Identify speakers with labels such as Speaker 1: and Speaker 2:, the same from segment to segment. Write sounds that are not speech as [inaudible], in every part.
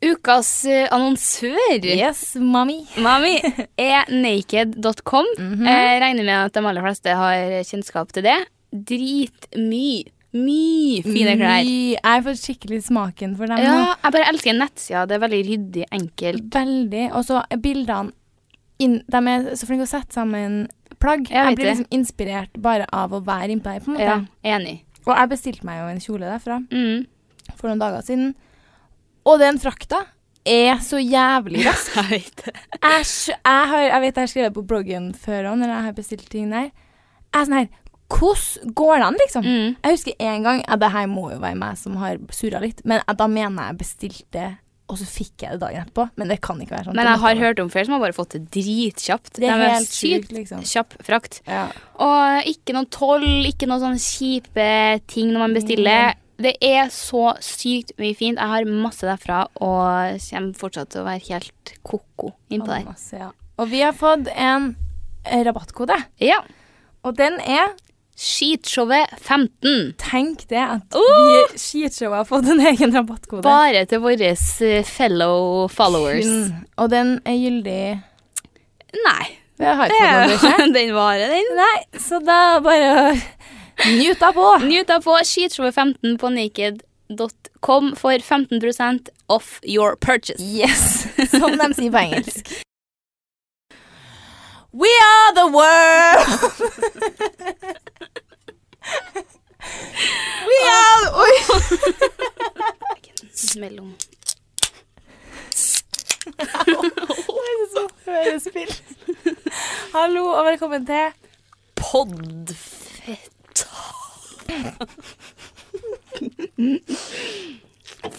Speaker 1: ukas eh, annonsør,
Speaker 2: Yes, mommy.
Speaker 1: mami, er naked.com.
Speaker 2: Mhm.
Speaker 1: Jeg regner med at de aller fleste har kjennskap til det. Dritmye, mye fine klær.
Speaker 2: Mye- Jeg får skikkelig smaken for dem nå.
Speaker 1: Ja, jeg bare elsker nettsida. Det er veldig ryddig, enkelt.
Speaker 2: Veldig. Og så er bildene inn, De er så flinke å sette sammen plagg.
Speaker 1: Jeg
Speaker 2: Jeg,
Speaker 1: vet
Speaker 2: blir
Speaker 1: det.
Speaker 2: liksom inspirert bare av å være innpå her, på en måte.
Speaker 1: Ja, enig.
Speaker 2: Og jeg bestilte meg jo en kjole derfra
Speaker 1: Mm.
Speaker 2: for noen dager siden. Og den frakta er så
Speaker 1: [laughs]
Speaker 2: jævlig rask.
Speaker 1: Jeg vet det.
Speaker 2: Æsj. Jeg, har- jeg vet jeg har skrevet på bloggen før òg, når jeg har bestilt ting der. Jeg er sånn her Hvordan går det an, liksom?
Speaker 1: Mm.
Speaker 2: Jeg husker en gang ja, Det her må jo være meg som har surra litt, men ja, da mener jeg jeg bestilte, og så fikk jeg det dagen etterpå. Men det kan ikke være sånn.
Speaker 1: Men
Speaker 2: Det
Speaker 1: jeg
Speaker 2: måtte
Speaker 1: har
Speaker 2: være-
Speaker 1: hørt om flere som har bare fått det dritkjapt.
Speaker 2: Det er
Speaker 1: de
Speaker 2: helt sjukt,
Speaker 1: sykt
Speaker 2: liksom.
Speaker 1: kjapp frakt.
Speaker 2: Ja.
Speaker 1: Og ikke noe toll, ikke noe sånn kjipe ting når man bestiller. Det er så sykt mye fint. Jeg har masse derfra og kommer fortsatt til å være helt ko-ko innpå der.
Speaker 2: Masse, ja. Og vi har fått en eh, rabattkode,
Speaker 1: Ja.
Speaker 2: og den er
Speaker 1: Skitshowet 15.
Speaker 2: Tenk det at
Speaker 1: Oh!
Speaker 2: vi skitshowet har fått en egen rabattkode.
Speaker 1: Bare til våre eh, fellow followers.
Speaker 2: Kun. Og den er gyldig
Speaker 1: Nei.
Speaker 2: Vi har ikke fått [laughs] noen
Speaker 1: [laughs]
Speaker 2: beskjed.
Speaker 1: Den varer, den.
Speaker 2: Nei, så da bare Nyt da på.
Speaker 1: Nyt deg på skitshowet 15 på naked.com for 15 off your purchase.
Speaker 2: Yes, [laughs] som de sier på engelsk. We are the [laughs] world! We are the [laughs] Oi!
Speaker 1: Mellom.
Speaker 2: Hørespill. Hallo og velkommen til
Speaker 1: Podfetta.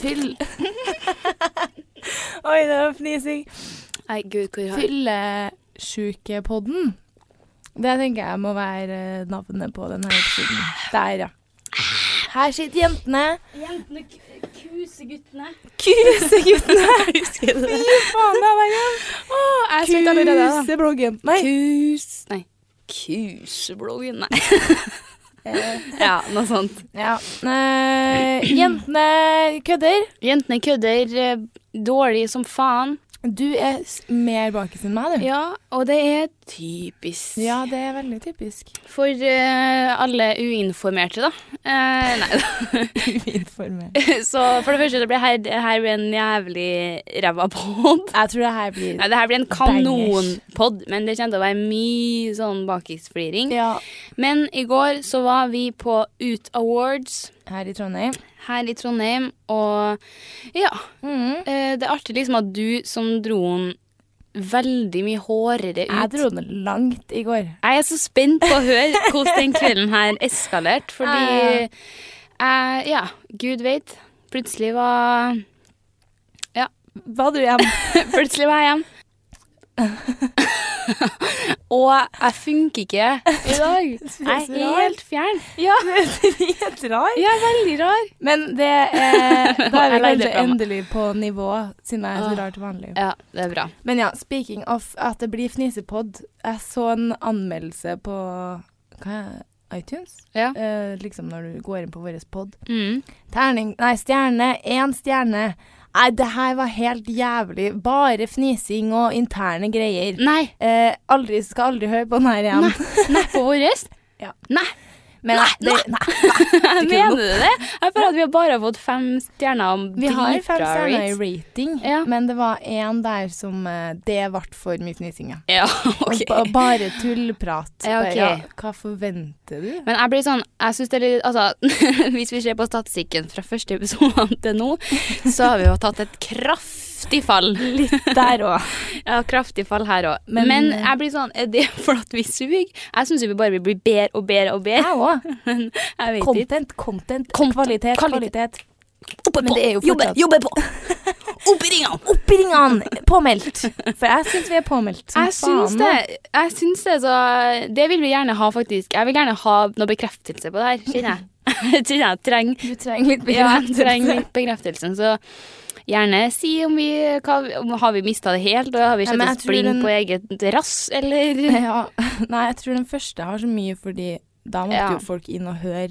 Speaker 1: Fyll.
Speaker 2: [laughs] Oi, det var fnising.
Speaker 1: Nei, gud, hvor har
Speaker 2: Fyllesjukepodden. Det tenker jeg må være eh, navnet på denne episoden. Der, ja. Her sitter jentene.
Speaker 1: Jentene kuser guttene. [laughs]
Speaker 2: Kuseguttene!
Speaker 1: Husker du det?
Speaker 2: Fy faen, det er deg, ja.
Speaker 1: jeg
Speaker 2: Kusebloggen. Nei.
Speaker 1: Kus... Nei. Kusebloggen, nei. [laughs] Ja, noe sånt.
Speaker 2: Ja. Eh, jentene kødder.
Speaker 1: Jentene kødder eh, dårlig som faen.
Speaker 2: Du er s- mer bakis enn meg, du.
Speaker 1: Ja, og det er typisk.
Speaker 2: Ja, det er veldig [laughs] typisk.
Speaker 1: For eh, alle uinformerte, da. Eh, nei [laughs] da.
Speaker 2: Uinformert.
Speaker 1: Så for det første, det blir her, det her blir en jævlig ræva pod.
Speaker 2: Jeg tror det her blir
Speaker 1: Nei, det her blir en kanonpod, men det kommer til å være mye sånn bakisfliring.
Speaker 2: Ja.
Speaker 1: Men i går så var vi på Ut Awards
Speaker 2: Her i Trondheim.
Speaker 1: her i Trondheim, og ja.
Speaker 2: Mm.
Speaker 1: eh, det er artig liksom at du som dro den veldig mye hårere ut.
Speaker 2: Jeg dro den langt i går.
Speaker 1: Jeg er så spent på å høre hvordan den kvelden her eskalerte, fordi jeg Ja, gud veit. Plutselig var
Speaker 2: Var du [laughs] hjemme?
Speaker 1: Plutselig var jeg hjemme. [laughs] Og jeg funker ikke i dag. Jeg
Speaker 2: så
Speaker 1: er
Speaker 2: rar.
Speaker 1: helt fjern.
Speaker 2: [laughs] Helt rar.
Speaker 1: Jeg er veldig rar.
Speaker 2: Men det er, [laughs] da er vi
Speaker 1: Jeg leide
Speaker 2: kanskje
Speaker 1: fra meg.
Speaker 2: endelig på nivå, siden jeg er så
Speaker 1: Åh.
Speaker 2: rar til vanlig.
Speaker 1: Ja, det er bra.
Speaker 2: Men ja, speaking of at det blir fnisepod, jeg så en anmeldelse på hva er, iTunes.
Speaker 1: Ja.
Speaker 2: Eh, liksom når du går inn på vår pod.
Speaker 1: Mm.
Speaker 2: Terning, nei, stjerne, én stjerne. Nei, det her var helt jævlig. Bare fnising og interne greier.
Speaker 1: Nei.
Speaker 2: Eh, aldri, skal aldri høre på den her igjen.
Speaker 1: Mm. Nei. Nei på vår.
Speaker 2: [laughs] Ja.
Speaker 1: Nei.
Speaker 2: Men
Speaker 1: Nei,
Speaker 2: det,
Speaker 1: Mener du det? Jeg føler at vi har bare har fått fem stjerner. om
Speaker 2: Vi har fem
Speaker 1: dritbra
Speaker 2: stjerner i
Speaker 1: rates.
Speaker 2: rating,
Speaker 1: Ja.
Speaker 2: men det var én der som eh, Det ble for mye fnising, ja.
Speaker 1: Ja, [laughs]
Speaker 2: Og
Speaker 1: ok.
Speaker 2: ba- bare tullprat.
Speaker 1: Ja,
Speaker 2: Bare,
Speaker 1: ok.
Speaker 2: hva forventer du?
Speaker 1: Men jeg blir sånn, jeg synes det er litt, altså, [laughs] hvis vi ser på statistikken fra første episode til nå, så har vi jo tatt et kraftig fall.
Speaker 2: Litt der òg.
Speaker 1: [laughs] Ja, kraftig fall her òg. Men,
Speaker 2: Men- eh,
Speaker 1: jeg blir sånn, er det for at vi suger? Jeg syns vi bare blir bedre og bedre og bedre.
Speaker 2: Jeg òg.
Speaker 1: Jeg vet ikke.
Speaker 2: Content, content,
Speaker 1: Content,
Speaker 2: kvalitet,
Speaker 1: kvalitet.
Speaker 2: kvalitet.
Speaker 1: Oppe
Speaker 2: Men det er jo fortsatt-
Speaker 1: jobbe på! [laughs] Opp i ringene!
Speaker 2: Opp i ringene! Påmeldt. For jeg syns vi er påmeldt som
Speaker 1: Jeg syns det. Jeg syns det, så Det vil vi gjerne ha, faktisk. Jeg vil gjerne ha noe bekreftelse på det her, kjenner [laughs] jeg. Jeg tror jeg trenger
Speaker 2: Du trenger litt
Speaker 1: Ja, jeg trenger litt bekreftelsen, så gjerne si om vi hva, om, Har vi mista det helt, og har vi
Speaker 2: Ja,
Speaker 1: sett
Speaker 2: men jeg
Speaker 1: oss
Speaker 2: tror
Speaker 1: blind
Speaker 2: den-
Speaker 1: på eget rass, eller
Speaker 2: [laughs] Ja. Nei, jeg tror den første har så mye, fordi da måtte
Speaker 1: Ja.
Speaker 2: jo folk inn og høre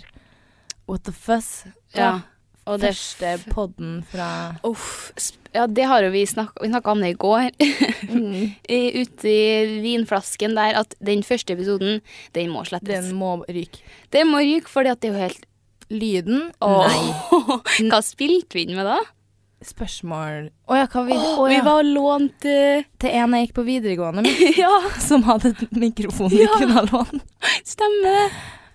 Speaker 2: What the fuss.
Speaker 1: [laughs] Ja. Og det
Speaker 2: Første podden fra
Speaker 1: Uff. sp- Ja, det har jo vi snakka Vi snakka om det i går. [laughs]
Speaker 2: Mm.
Speaker 1: I- Ute i vinflasken der at den første episoden, den må slettes.
Speaker 2: Den
Speaker 1: Den,
Speaker 2: må ryke.
Speaker 1: må ryke, fordi at det er jo helt
Speaker 2: Lyden?
Speaker 1: Åh, [laughs] Hva spilte vi inn med da?
Speaker 2: Spørsmål Å ja, hva vi
Speaker 1: Åh,
Speaker 2: å
Speaker 1: Vi
Speaker 2: ja.
Speaker 1: var lånt eh,
Speaker 2: Til en jeg gikk på videregående med,
Speaker 1: [laughs] Ja,
Speaker 2: som hadde en mikrofon vi
Speaker 1: Ja.
Speaker 2: kunne ha lånt.
Speaker 1: stemmer det.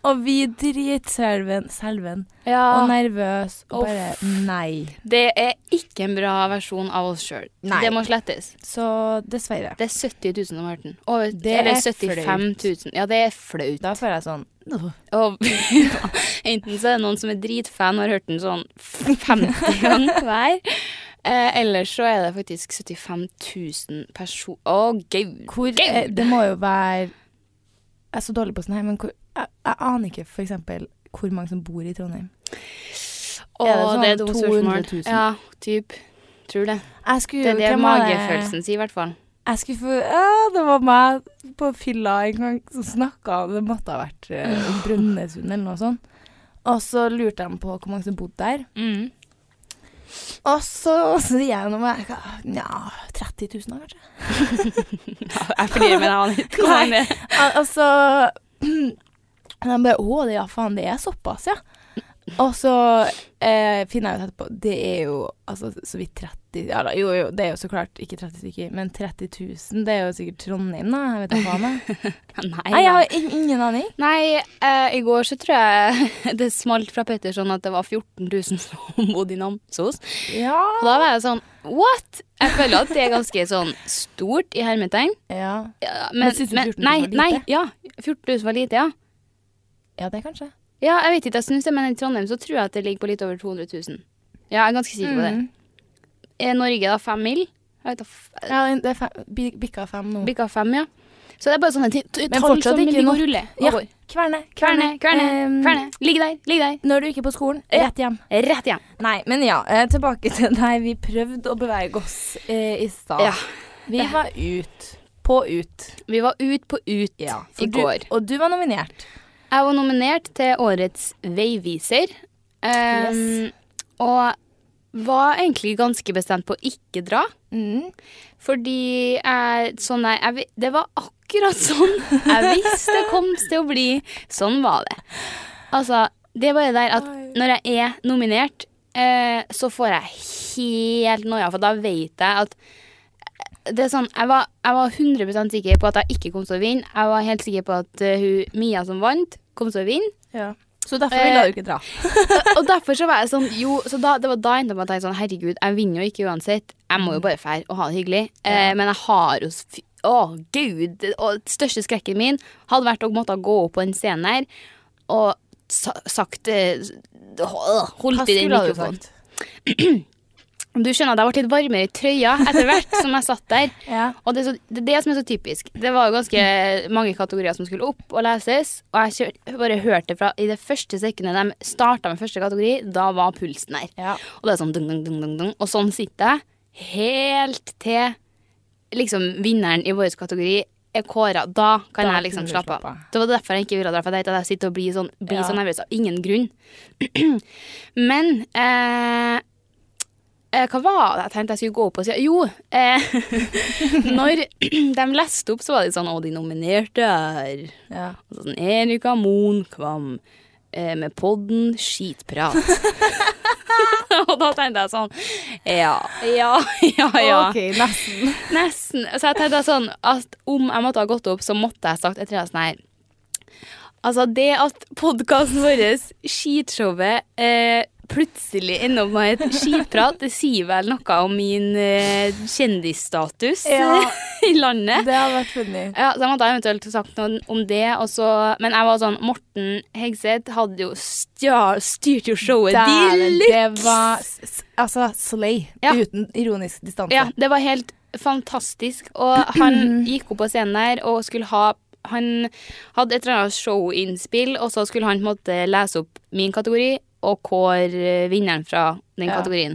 Speaker 2: Og vi dritselven selven,
Speaker 1: Ja,
Speaker 2: og nervøs og
Speaker 1: Ah. Uff.
Speaker 2: bare nei.
Speaker 1: det er ikke en bra versjon av oss sjøl.
Speaker 2: Nei.
Speaker 1: Det må slettes.
Speaker 2: Så dessverre.
Speaker 1: Det er 70 000 som har hørt den. Over,
Speaker 2: Det
Speaker 1: eller
Speaker 2: er
Speaker 1: 75 000. Ja, det er flaut.
Speaker 2: Da føler jeg sånn «Åh,
Speaker 1: Og [laughs] enten så er det noen som er dritfan og har hørt den sånn 50 [laughs] ganger hver. Eh, eller så er det faktisk 75 000 personer Å, gud!
Speaker 2: Hvor eh, Det må jo være Jeg er så dårlig på sånn her, men hvor, jeg, jeg aner ikke for eksempel hvor mange som bor i Trondheim.
Speaker 1: Å,
Speaker 2: Er det sånn
Speaker 1: det er et dumt spørsmål.
Speaker 2: 200 000?
Speaker 1: Ja, typ. Tror det.
Speaker 2: Jeg skulle
Speaker 1: Det er det
Speaker 2: hvem var det?
Speaker 1: magefølelsen sier, i hvert fall.
Speaker 2: Jeg skulle få ja, Det var meg på fylla en gang som snakka om Det måtte ha vært eh, Brønnøysund eller noe sånt. Og så lurte de på hvor mange som bodde der.
Speaker 1: Mm.
Speaker 2: Og så og så sier jeg noe med Nja, 30 000 da, kanskje? [laughs]
Speaker 1: Jeg flirer, men jeg [laughs] aner ikke hvor mange det er.
Speaker 2: Al- Altså [clears throat] Og de bare Å, det, ja, faen, det er såpass, ja. Og så eh, finner jeg ut etterpå Det er jo altså så vidt 30 ja, da, Jo, jo, det er jo så klart ikke 30 stykker, men 30 000, det er jo sikkert Trondheim, da. Jeg vet da faen.
Speaker 1: [laughs]
Speaker 2: jeg. Nei,
Speaker 1: Nei,
Speaker 2: jeg
Speaker 1: ja.
Speaker 2: har in- ingen aning.
Speaker 1: Nei, eh, i går så tror jeg [laughs] det smalt fra Petterson at det var 14 000 som [laughs] bodde i Namsos.
Speaker 2: Ja.
Speaker 1: Og da var jeg sånn What?! Jeg føler at det er ganske sånn stort i hermetegn.
Speaker 2: ja.
Speaker 1: Ja,
Speaker 2: Men synes du 14 000
Speaker 1: nei,
Speaker 2: var lite?
Speaker 1: Nei, ja. 14 000 var lite, ja.
Speaker 2: Ja, det kanskje.
Speaker 1: Ja, jeg vet ikke, jeg synes det, men i Trondheim så tror jeg at det ligger på litt over 200 000. Ja, jeg er ganske sikker på det.
Speaker 2: Mm.
Speaker 1: Er Norge da fem mil? Jeg vet da f-
Speaker 2: Ja, det er fem, bi- bikka fem nå.
Speaker 1: Bikka fem, ja. Så det er bare sånne ti- t-
Speaker 2: Men
Speaker 1: tall
Speaker 2: fortsatt
Speaker 1: som
Speaker 2: ikke
Speaker 1: ligger
Speaker 2: nok.
Speaker 1: og ruller.
Speaker 2: Ja.
Speaker 1: og går.
Speaker 2: Kverne,
Speaker 1: Kverne, kverne,
Speaker 2: Ehm,
Speaker 1: kverne. Mm. Ligg der, ligg der.
Speaker 2: Når du ikke er på skolen,
Speaker 1: Ja.
Speaker 2: rett hjem.
Speaker 1: Rett hjem.
Speaker 2: Nei, men ja, eh, tilbake til deg. Vi prøvde å bevege oss eh, i stad.
Speaker 1: Ja.
Speaker 2: Vi var ut. På ut.
Speaker 1: Vi var ut på ut
Speaker 2: For
Speaker 1: i
Speaker 2: du,
Speaker 1: går.
Speaker 2: Og du var nominert.
Speaker 1: Jeg var nominert til årets veiviser. ehm, Og var egentlig ganske bestemt på å ikke dra. Mm. Fordi jeg, sånn jeg, jeg vi- Det var akkurat sånn jeg visste det kom til å bli. Sånn var det. Altså, det er bare der at
Speaker 2: Oi.
Speaker 1: når jeg er nominert, eh, så får jeg helt noia, for da vet jeg at det er sånn, jeg var, jeg var 100 sikker på at jeg ikke kom til å vinne. Jeg var helt sikker på at eh, hun, Mia som vant, kom til å vinne.
Speaker 2: Ja. Så derfor
Speaker 1: Eh,
Speaker 2: ville du ikke dra.
Speaker 1: [laughs] Og derfor så var jeg sånn Jo, så da, det var da jeg endte opp med å tenke sånn Herregud, jeg vinner jo ikke uansett. Jeg må jo bare fære og ha det hyggelig. Eh, men jeg har jo s- fy- Å, gud! Og den største skrekken min hadde vært å måtte gå opp på den scenen her og sa, sagt eh, å, Holdt i den mikrofonen. Du skjønner at jeg ble litt varmere i trøya etter hvert som jeg satt der.
Speaker 2: Ja.
Speaker 1: Og det, er så, det er det som er så typisk. Det var jo ganske mange kategorier som skulle opp og leses, og jeg kjør, bare hørte fra i det første sekundet de starta med første kategori, da var pulsen der.
Speaker 2: Ja.
Speaker 1: Og det er sånn dung, dung, dung, dung, dung. Og sånn sitter jeg helt til liksom vinneren i vår kategori er kåra. Da kan
Speaker 2: Da
Speaker 1: jeg liksom
Speaker 2: kunne du
Speaker 1: slappe
Speaker 2: slappe
Speaker 1: av.
Speaker 2: av.
Speaker 1: Det var derfor jeg ikke ville dra, for jeg tenkte at jeg sitter og blir sånn, blir
Speaker 2: Ja.
Speaker 1: så nervøs av ingen grunn. [clears throat] Men eh, eh, hva var det jeg tenkte jeg skulle gå opp og si? Jo, eh, [laughs] når [clears throat] de leste opp, så var det sånn Å, de nominerte er
Speaker 2: Ja.
Speaker 1: og Sånn, Erika Moen kvam eh, med podden skitprat. [laughs] og da tenkte jeg sånn Ja, ja, ja. Ah, ja.
Speaker 2: OK,
Speaker 1: [laughs]
Speaker 2: nesten.
Speaker 1: Nesten. Så jeg tenkte sånn at om jeg måtte ha gått opp, så måtte jeg sagt etter det sånn her Altså, det at podkasten vår, skitshowet, eh, plutselig ender opp med et skitprat, det sier vel noe om min eh, kjendisstatus
Speaker 2: Ja.
Speaker 1: [laughs] i landet.
Speaker 2: Det hadde vært funny.
Speaker 1: Ja, så jeg måtte eventuelt sagt noe om det, og så, men jeg var sånn Morten Hegseth hadde jo stjal, styrt jo showet de
Speaker 2: Dæven,
Speaker 1: luxe!
Speaker 2: det var s- s- Altså, slay.
Speaker 1: Ja.
Speaker 2: Uten ironisk distanse.
Speaker 1: Ja, det var helt fantastisk. Og han gikk opp på scenen der og skulle ha Han hadde et eller annet showinnspill, og så skulle han på en måte lese opp min kategori og kåre eh, vinneren fra den
Speaker 2: Ja.
Speaker 1: kategorien.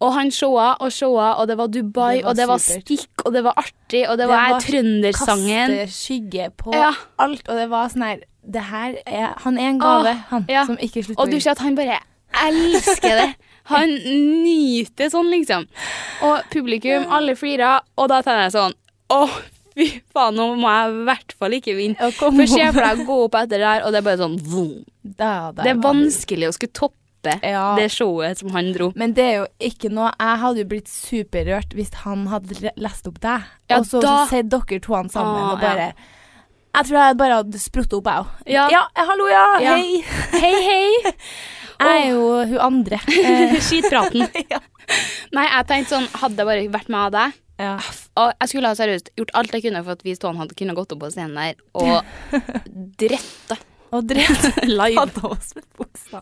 Speaker 1: Og han showa og showa, og det var Dubai,
Speaker 2: Det var
Speaker 1: og det var
Speaker 2: supert.
Speaker 1: stikk, og det var artig, og det, var,
Speaker 2: var
Speaker 1: trøndersangen.
Speaker 2: Kaste skygge på
Speaker 1: Ja.
Speaker 2: alt, og det var sånn her Det her er Han er en gave,
Speaker 1: Åh,
Speaker 2: han
Speaker 1: ja.
Speaker 2: som ikke slutter
Speaker 1: Og du ser at han bare elsker det. Han nyter sånn, liksom. Og publikum, alle flirer, og da tenner jeg sånn Å, fy faen, nå må jeg i hvert fall ikke vinne.
Speaker 2: Ja, kom
Speaker 1: For se
Speaker 2: over.
Speaker 1: for deg å gå opp etter det her, og det er bare sånn vroom.
Speaker 2: Da, da,
Speaker 1: Det er
Speaker 2: da.
Speaker 1: vanskelig å skulle toppe
Speaker 2: Ja.
Speaker 1: det showet som han dro.
Speaker 2: Men det er jo ikke noe Jeg hadde jo blitt superrørt hvis han hadde le- lest opp deg,
Speaker 1: Ja,
Speaker 2: og så
Speaker 1: da-
Speaker 2: sett dere to han sammen
Speaker 1: Ah,
Speaker 2: og bare Jeg tror jeg bare hadde sprutt opp, jeg òg.
Speaker 1: Ja.
Speaker 2: hallo, ja,
Speaker 1: Ja.
Speaker 2: hei.
Speaker 1: [laughs] Hei, hei!
Speaker 2: [laughs] Jeg er jo hun
Speaker 1: [laughs]
Speaker 2: andre. Eh,
Speaker 1: Skitpraten. Nei, jeg tenkte sånn, hadde jeg bare vært med av deg
Speaker 2: ja.
Speaker 1: Og jeg skulle ha seriøst gjort alt jeg kunne for at vi i Stålen hadde kunnet gått opp på scenen der [laughs] og drette
Speaker 2: Og drept
Speaker 1: [laughs] live.
Speaker 2: hadde oss med buksa.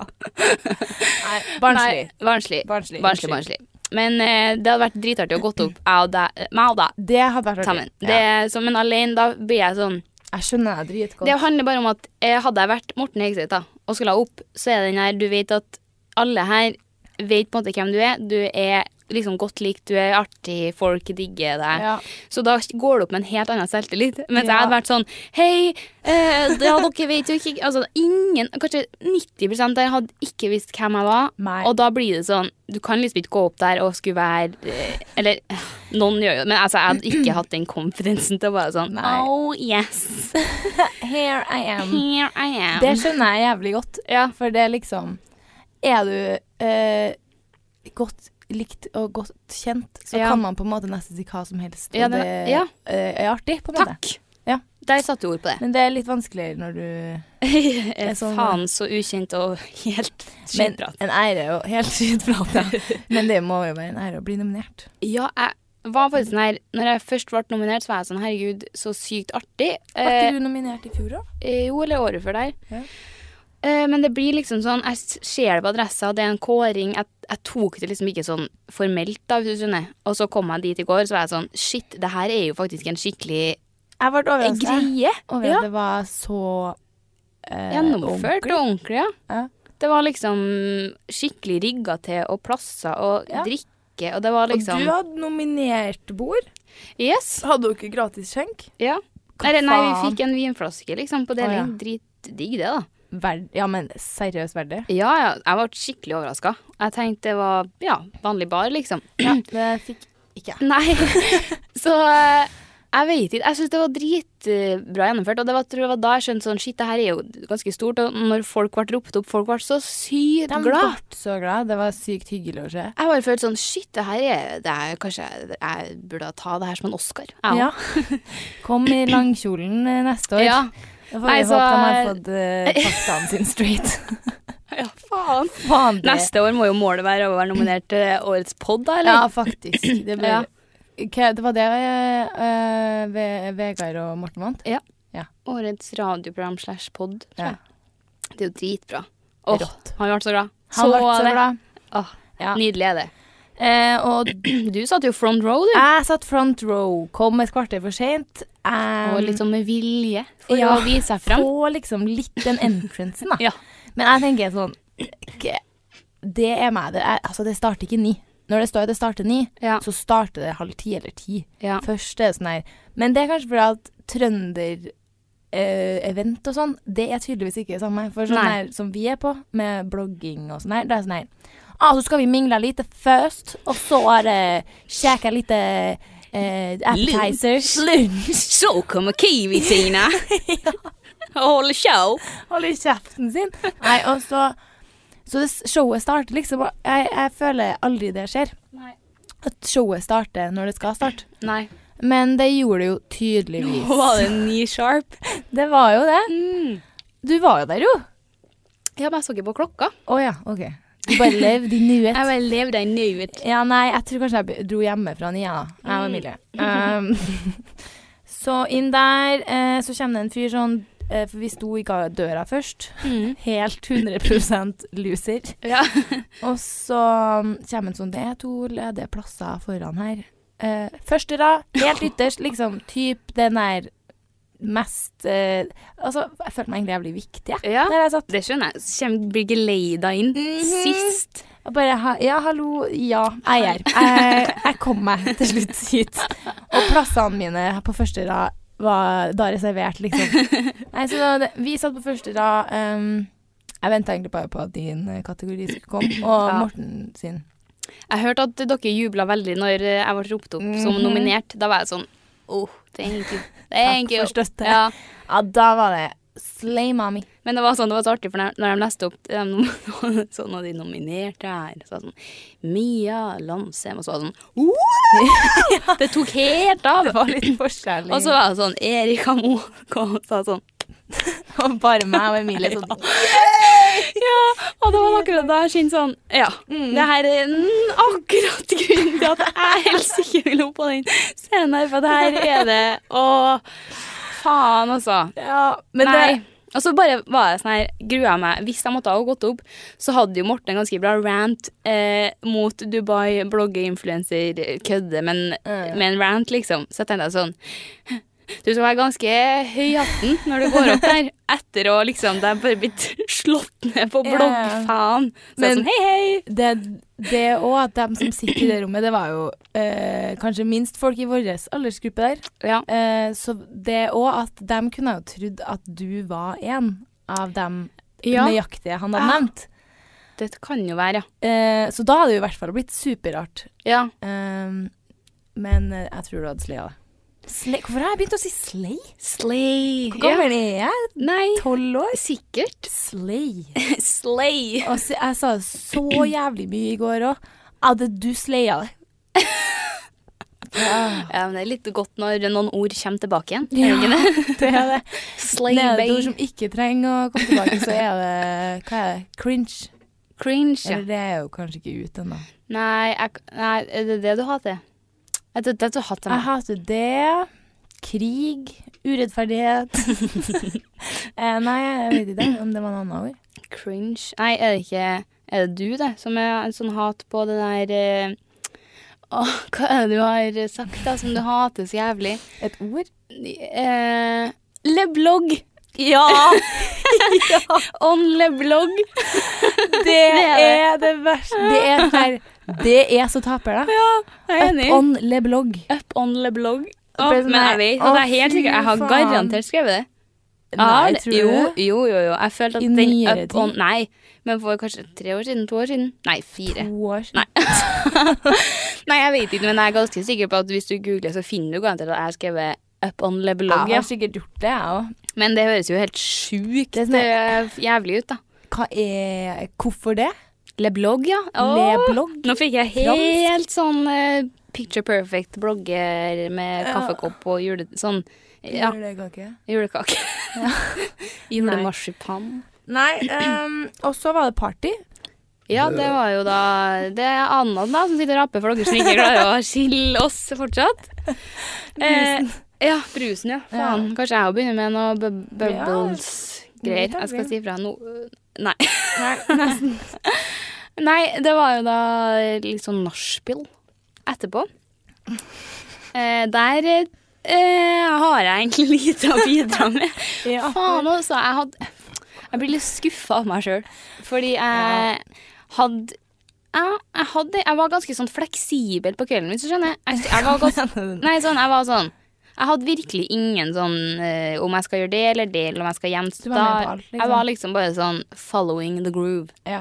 Speaker 2: Nei, barnslig.
Speaker 1: Nei, Barnslig.
Speaker 2: Barnslig,
Speaker 1: Barnslig, barnslig. Men eh, det hadde vært dritartig å gått
Speaker 2: [laughs]
Speaker 1: opp jeg og deg, eh, meg og deg
Speaker 2: Det hadde vært artig.
Speaker 1: sammen. Det,
Speaker 2: Ja.
Speaker 1: så, men alene, da blir jeg sånn
Speaker 2: Jeg skjønner deg dritgodt.
Speaker 1: Det handler bare om at eh, hadde jeg vært Morten Hegseth da, og skulle ha opp, så er den her Du vet at alle her vet på en måte hvem du er. Du er liksom godt likt, du er artig, folk digger deg.
Speaker 2: Ja.
Speaker 1: Så da går det opp med en helt annen selvtillit. [laughs] Mens jeg
Speaker 2: Ja.
Speaker 1: hadde vært sånn Hei, eh, ja, dere vet jo ikke Altså ingen, kanskje 90 der hadde ikke visst hvem jeg var.
Speaker 2: Nei.
Speaker 1: Og da blir det sånn Du kan liksom ikke gå opp der og skulle være eh, Eller [sighs] eh, noen gjør jo Men altså, jeg hadde ikke hatt den konfidensen til å bare sånn
Speaker 2: Nei.
Speaker 1: Oh yes,
Speaker 2: Here I am.
Speaker 1: here I am.
Speaker 2: Det skjønner jeg jævlig godt.
Speaker 1: ja.
Speaker 2: For det er liksom Er du eh, godt likt og godt kjent, så
Speaker 1: Ja.
Speaker 2: kan man på en måte nesten si hva som helst. Og
Speaker 1: Ja,
Speaker 2: det,
Speaker 1: det- ja.
Speaker 2: eh, er artig, på en måte.
Speaker 1: Takk.
Speaker 2: Ja.
Speaker 1: Der satte du ord på [laughs] det.
Speaker 2: Men det er litt vanskeligere når du
Speaker 1: Eh,
Speaker 2: er sånn-
Speaker 1: Faen, så ukjent og helt
Speaker 2: Men
Speaker 1: skitprat.
Speaker 2: en ære er jo helt skitprat,
Speaker 1: [laughs]
Speaker 2: ja. Men det må jo være en ære å bli nominert.
Speaker 1: Ja, jeg var faktisk sånn her Når jeg først ble nominert, så var jeg sånn Herregud, så sykt artig.
Speaker 2: Var ikke du nominert i fjor, da?
Speaker 1: Eh, jo, eller året før der.
Speaker 2: Ja.
Speaker 1: Eh, men det blir liksom sånn Jeg s- ser det på adressa, det er en kåring. Jeg, jeg tok det liksom ikke sånn formelt, da, hvis du skjønner. Og så kom jeg dit i går, så var jeg sånn Shit, det her er jo faktisk en skikkelig
Speaker 2: Jeg ble overraska
Speaker 1: greie.
Speaker 2: over
Speaker 1: Ja.
Speaker 2: at det var så eh,
Speaker 1: Gjennomført og ordentlig, ja.
Speaker 2: Ja.
Speaker 1: Det var liksom skikkelig rigga til, og plasser og
Speaker 2: Ja.
Speaker 1: drikke, og det var liksom
Speaker 2: Og du hadde nominert bord.
Speaker 1: Yes.
Speaker 2: Hadde dere gratis skjenk?
Speaker 1: Ja.
Speaker 2: Hva
Speaker 1: Nei, nei, vi
Speaker 2: faen?
Speaker 1: fikk en vinflaske, liksom, på
Speaker 2: Å, ja.
Speaker 1: deling. Dritdigg, det, da.
Speaker 2: Verd, ja, men seriøst verdig.
Speaker 1: Ja, ja. Jeg ble skikkelig overraska. Jeg tenkte det var ja, vanlig bar, liksom. [clears throat]
Speaker 2: [clears throat] Det fikk ikke jeg.
Speaker 1: Nei. [laughs] Så eh, jeg vet ikke. Jeg syns det var dritbra gjennomført. Og det var, tror jeg var da jeg skjønte sånn shit, det her er jo ganske stort. Og når folk ble ropt opp, folk ble så sykt
Speaker 2: De ble
Speaker 1: glad.
Speaker 2: så glad. Det var sykt hyggelig å se.
Speaker 1: Jeg bare følte sånn shit, det her er, det er Kanskje jeg, jeg burde ta det her som en Oscar. Jeg [clears throat] også.
Speaker 2: Kom i langkjolen eh, neste år.
Speaker 1: ja.
Speaker 2: Da får vi
Speaker 1: Nei,
Speaker 2: håpe
Speaker 1: så-
Speaker 2: de har fått
Speaker 1: [laughs]
Speaker 2: uh, faktaene sine straight.
Speaker 1: ja, faen.
Speaker 2: Faen, det-
Speaker 1: Neste år må jo målet være å være nominert til årets pod, da, eller?
Speaker 2: Ja, faktisk. Det, ble,
Speaker 1: Ja.
Speaker 2: Hva- det var det eh, Ve- Vegard og Morten vant.
Speaker 1: Årets radioprogram slash pod, tror
Speaker 2: Ja.
Speaker 1: jeg. Det er jo dritbra. Åh,
Speaker 2: Rått.
Speaker 1: han ble så glad.
Speaker 2: Han ble så
Speaker 1: det.
Speaker 2: glad.
Speaker 1: Åh,
Speaker 2: Ja.
Speaker 1: Nydelig er det. [clears throat]
Speaker 2: Eh, og
Speaker 1: Du satt jo front row, du.
Speaker 2: jeg satt front row, kom et kvarter for seint.
Speaker 1: Og litt sånn med vilje for
Speaker 2: Um, ja.
Speaker 1: å vise seg
Speaker 2: [laughs]
Speaker 1: fram.
Speaker 2: Få liksom litt den entrancen, da.
Speaker 1: [laughs] Ja.
Speaker 2: Men jeg tenker sånn ikke- Det er meg. Det, er, altså, det starter ikke ni. Når det står at det starter ni,
Speaker 1: Ja.
Speaker 2: så starter det halv ti eller ti.
Speaker 1: Ja.
Speaker 2: Først er det sånn her. Men det er kanskje fordi at trønder eh, event og sånn, det er tydeligvis ikke det samme. For sånn
Speaker 1: Nei.
Speaker 2: her som vi er på, med blogging og sånn her, det er sånn her Ah, så skal vi mingle litt først, og så er det sjekke litt eh, appetizers. Lunsj.
Speaker 1: Så kommer
Speaker 2: [laughs]
Speaker 1: Kiwi-Tina og holder show.
Speaker 2: Hold i kjeften sin. Nei, og så Så det showet starter liksom og jeg, jeg føler aldri det skjer.
Speaker 1: Nei.
Speaker 2: At showet starter når det skal starte.
Speaker 1: Nei.
Speaker 2: Men det gjorde det jo tydeligvis.
Speaker 1: Var det ni [laughs] sharp?
Speaker 2: Det var jo det. Du var jo der, jo.
Speaker 1: Mm. Ja, men jeg så ikke på klokka.
Speaker 2: Å ja, OK. Du bare levde i
Speaker 1: [laughs]
Speaker 2: nuet.
Speaker 1: Jeg bare levde i nuet.
Speaker 2: Ja, nei, jeg tror kanskje jeg be- dro hjemmefra ni, jeg, da.
Speaker 1: Mm.
Speaker 2: Jeg og Emilie. Um, [laughs] så inn der, eh, så kommer det en fyr sånn eh, For vi sto i ga- døra først.
Speaker 1: Mm.
Speaker 2: Helt 100 loser.
Speaker 1: Ja.
Speaker 2: Og så kommer en sånn Det er to ledige plasser foran her. Eh, første rad, [laughs] helt ytterst, liksom typ den der mest eh, Altså, jeg følte meg egentlig jævlig viktig, jeg.
Speaker 1: ja.
Speaker 2: Der jeg satt.
Speaker 1: Det skjønner jeg. Så kommer- blir geleida inn sist.
Speaker 2: Jeg Mhm. bare ha, Ja, hallo, ja, jeg er her. [laughs] Jeg, jeg kom meg til slutt hit. Og plassene mine på første rad [laughs] var da reservert, liksom. Nei, så da, vi satt på første rad. ehm, Jeg venta egentlig bare på at din eh, kategori skulle komme, og
Speaker 1: Ja.
Speaker 2: Morten sin.
Speaker 1: Jeg hørte at dere jubla veldig når jeg ble ropt opp som
Speaker 2: Mhm.
Speaker 1: nominert. Da var jeg sånn Oh, thank you. Thank you.
Speaker 2: for støtte.
Speaker 1: Ja.
Speaker 2: Ja, da var det slay mommy.
Speaker 1: Men det var sånn, det var så artig, for når, når de leste opp de, nom- sånn, og de [laughs] nominerte her, så var det sånn Mia Landsem, og så var det sånn «Wow!» [laughs] Det tok helt av.
Speaker 2: [laughs] Det var litt forskjell.
Speaker 1: Og så var det sånn Erika Moe [laughs] kom og sa sånn
Speaker 2: var bare meg og [laughs] Emilie sånn.
Speaker 1: Ja, og det var akkurat da jeg kjente sånn Ja, det her er mm, akkurat grunnen til at jeg helst ikke vil opp på den scenen her, for det her er det Å, faen, altså.
Speaker 2: Ja, men
Speaker 1: Nei.
Speaker 2: det
Speaker 1: Og så bare var jeg sånn her, grua jeg meg. Hvis jeg måtte ha gått opp, så hadde jo Morten en ganske bra rant eh, mot Dubai, bloggeinfluenser, kødde, men
Speaker 2: Ja, ja.
Speaker 1: med en rant, liksom. Så jeg tenkte jeg sånn Du skal være ganske høy i hatten når du går opp der, etter å liksom Det er bare blitt slått ned på
Speaker 2: Ja, ja.
Speaker 1: bloggfaen. Så jeg er
Speaker 2: Men-
Speaker 1: sånn hei, hei.
Speaker 2: det, det og at de som sitter i det rommet, det var jo eh, kanskje minst folk i vår aldersgruppe der.
Speaker 1: Ja.
Speaker 2: Eh, så det og at de kunne jo trodd at du var en av dem
Speaker 1: Ja.
Speaker 2: nøyaktige han hadde
Speaker 1: Ja.
Speaker 2: nevnt.
Speaker 1: Det kan jo være, ja.
Speaker 2: Eh, så da hadde det jo i hvert fall blitt superrart.
Speaker 1: ja.
Speaker 2: Um, men eh, jeg tror du hadde slaya det. Slay? Hvorfor har jeg begynt å si slay?
Speaker 1: Slay.
Speaker 2: Hvor
Speaker 1: Ja.
Speaker 2: gammel er jeg?
Speaker 1: Nei,
Speaker 2: Tolv år?
Speaker 1: sikkert. [laughs]
Speaker 2: Slay.
Speaker 1: Slay.
Speaker 2: Og så, jeg sa det så jævlig mye i går òg. Hadde du slaya det? Ja,
Speaker 1: Ja, men Det er litt godt når noen ord kommer tilbake igjen.
Speaker 2: Ja.
Speaker 1: Er det ikke det? [laughs]
Speaker 2: det er det.
Speaker 1: Slay
Speaker 2: Det er et
Speaker 1: bay.
Speaker 2: ord som ikke trenger å komme tilbake, så er det Hva er det? Cringe.
Speaker 1: Cringe. ja.
Speaker 2: Eller det er jo kanskje ikke ute ennå.
Speaker 1: Nei, jeg, nei, er det det du hater? Er det det du hater
Speaker 2: Jeg
Speaker 1: med?
Speaker 2: hater det. Krig. Urettferdighet.
Speaker 1: [laughs]
Speaker 2: eh, nei, jeg vet ikke om det var noe annet ord.
Speaker 1: Cringe. Nei, er det ikke Er det du, det, som er en sånn hat på det der eh, Åh, hva er det du har sagt, da, som du hater så jævlig?
Speaker 2: Et ord?
Speaker 1: Eh, leblogg. [laughs]
Speaker 2: Ja!
Speaker 1: On leblogg. [laughs]
Speaker 2: Det er det verste. Det er, sånn her, det er så taper, da.
Speaker 1: Jeg er enig. sånn
Speaker 2: Up on le blogg.
Speaker 1: Up on leblogg.
Speaker 2: Å,
Speaker 1: men jeg vet
Speaker 2: å,
Speaker 1: at jeg er helt sikker. Jeg har
Speaker 2: fy faen.
Speaker 1: garantert skrevet det.
Speaker 2: Nei,
Speaker 1: det-
Speaker 2: tror du
Speaker 1: jo,
Speaker 2: det?
Speaker 1: jo, jo, jo. Jeg følte
Speaker 2: I
Speaker 1: at den
Speaker 2: nyere
Speaker 1: up on
Speaker 2: tid?
Speaker 1: Nei, men for kanskje tre år siden, to år siden? Nei, fire.
Speaker 2: To år siden.
Speaker 1: Nei, jeg vet ikke, men jeg er ganske sikker på at hvis du googler, så finner du garantert at jeg har skrevet up on the blogg.
Speaker 2: Jeg
Speaker 1: Ja.
Speaker 2: har sikkert gjort det, jeg òg.
Speaker 1: Men det høres jo helt sjukt
Speaker 2: Det er sånn-
Speaker 1: eh, jævlig ut, da.
Speaker 2: Hva er Hvorfor det?
Speaker 1: Le blogg, ja. Åh!
Speaker 2: Le blogg?
Speaker 1: Nå fikk jeg helt sånn eh, picture perfect blogger med
Speaker 2: Ja.
Speaker 1: kaffekopp og jule... Sånn. Ja,
Speaker 2: Julekake.
Speaker 1: julekake. [laughs] Julemarsipan.
Speaker 2: [clears throat] Nei, ehm, og så var det party.
Speaker 1: Ja, det var jo da Det er Anna da som sitter og raper for dere som ikke klarer å skille oss [laughs] fortsatt. Eh, ja, brusen, ja. Faen. Kanskje jeg òg begynner med noe bu bubbles-greier.
Speaker 2: Ja.
Speaker 1: Jeg skal si fra nå. Nei.
Speaker 2: [laughs] Nei, nesten.
Speaker 1: Nei, det var jo da litt sånn nachspiel [laughs] etterpå. Eh, der eh, har jeg egentlig lite å bidra med.
Speaker 2: Ja.
Speaker 1: Faen også, jeg hadde Jeg blir litt skuffa av meg sjøl. Fordi jeg hadde jeg, jeg, hadde, jeg var ganske sånn fleksibel på kvelden min, så skjønner jeg. Jeg, jeg var ganske, nei, sånn, jeg var sånn Jeg hadde virkelig ingen sånn eh, om jeg skal gjøre det eller det, eller om jeg skal hjem
Speaker 2: Du var med på alt, liksom.
Speaker 1: Jeg var liksom bare sånn following the groove.
Speaker 2: Ja.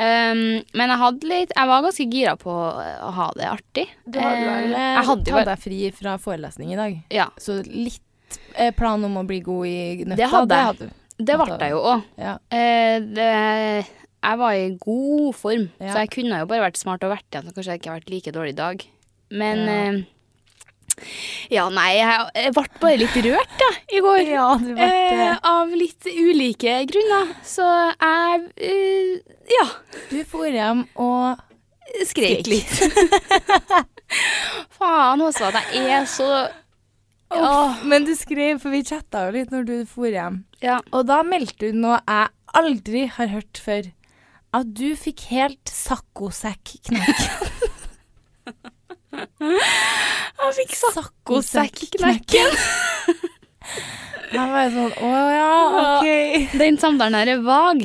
Speaker 1: Um, men jeg, hadde litt, jeg var ganske gira på eh, å ha det artig.
Speaker 2: Du hadde vel
Speaker 1: Eh,
Speaker 2: eh,
Speaker 1: jeg hadde jo
Speaker 2: tatt
Speaker 1: bare-
Speaker 2: deg fri fra forelesning i dag,
Speaker 1: Ja,
Speaker 2: så litt eh, plan om å bli god i nøtta.
Speaker 1: Det hadde jeg.
Speaker 2: du.
Speaker 1: det ble jeg jo òg.
Speaker 2: Ja.
Speaker 1: Eh, det, jeg var i god form,
Speaker 2: Ja.
Speaker 1: så jeg kunne jo bare vært smart og vært igjen. Så kanskje jeg ikke har vært like dårlig i dag. Men
Speaker 2: Ja.
Speaker 1: ja, ja nei, jeg, jeg ble bare litt rørt da, i går.
Speaker 2: ja, du ble
Speaker 1: Eh, av litt ulike grunner. Så jeg eh, ja,
Speaker 2: Du for hjem og
Speaker 1: skrek litt. [laughs] Faen også, at jeg er så Åh,
Speaker 2: Uff, Men du skrev, for vi chatta jo litt når du for hjem.
Speaker 1: ja.
Speaker 2: Og da meldte du noe jeg aldri har hørt før. At du fikk helt [laughs] sakkosekk-knekk.
Speaker 1: Jeg fikk
Speaker 2: Sakkosekk-knekken. [laughs] Jeg var jo sånn Å ja, OK.
Speaker 1: Den samtalen her er vag.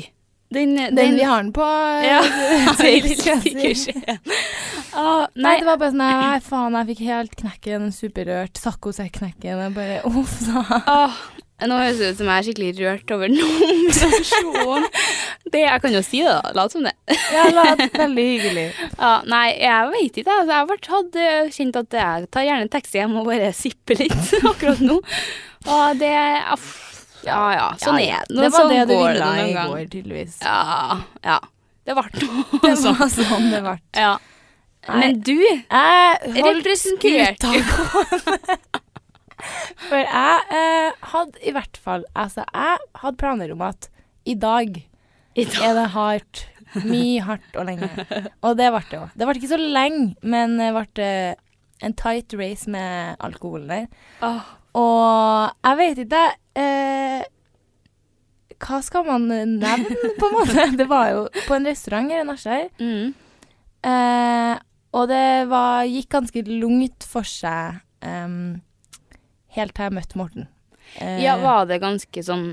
Speaker 1: Den, den,
Speaker 2: Den
Speaker 1: [laughs]
Speaker 2: vi har den [laughs] på
Speaker 1: Ja.
Speaker 2: Nei,
Speaker 1: Ah, nei,
Speaker 2: det var bare sånn Nei, [laughs] faen, jeg fikk helt knekken. Superrørt. Sakkosekk-knekken. Jeg bare Uff, da.
Speaker 1: Åh, Nå høres det ut som jeg er skikkelig rørt over [laughs] nominasjonen. Det, jeg kan jo si det, da. Lat som det.
Speaker 2: Ja, la, veldig hyggelig.
Speaker 1: Ja, nei, jeg vet ikke. Altså, jeg har vært hatt eh, kjent at jeg tar gjerne en taxi hjem og bare sipper litt [laughs] akkurat nå. Og det aff, Ja ja, sånn
Speaker 2: Ja, ja.
Speaker 1: er det. Nå,
Speaker 2: det. var
Speaker 1: sånn
Speaker 2: det du
Speaker 1: går det
Speaker 2: ville
Speaker 1: noen
Speaker 2: i
Speaker 1: gang.
Speaker 2: går, tydeligvis.
Speaker 1: Ja. ja. Det
Speaker 2: [laughs]
Speaker 1: ble
Speaker 2: Det
Speaker 1: noe sånn.
Speaker 2: var sånn det ble.
Speaker 1: Ja.
Speaker 2: Nei.
Speaker 1: Men du
Speaker 2: Jeg holdt
Speaker 1: representerte
Speaker 2: skuta gående. For jeg eh, hadde i hvert fall Altså, jeg hadde planer om at i dag
Speaker 1: i dag.
Speaker 2: er det hardt. Mye hardt og lenge. Og det ble det òg. Det ble ikke så lenge, men det ble eh, en tight race med alkoholen der.
Speaker 1: Åh,
Speaker 2: Og jeg vet ikke eh, Hva skal man nevne, på en måte? Det var jo på en restaurant her i Nasjar.
Speaker 1: Mm.
Speaker 2: Eh, og det var, gikk ganske lungt for seg em, helt til jeg møtte Morten. Eh,
Speaker 1: Ja, var det ganske sånn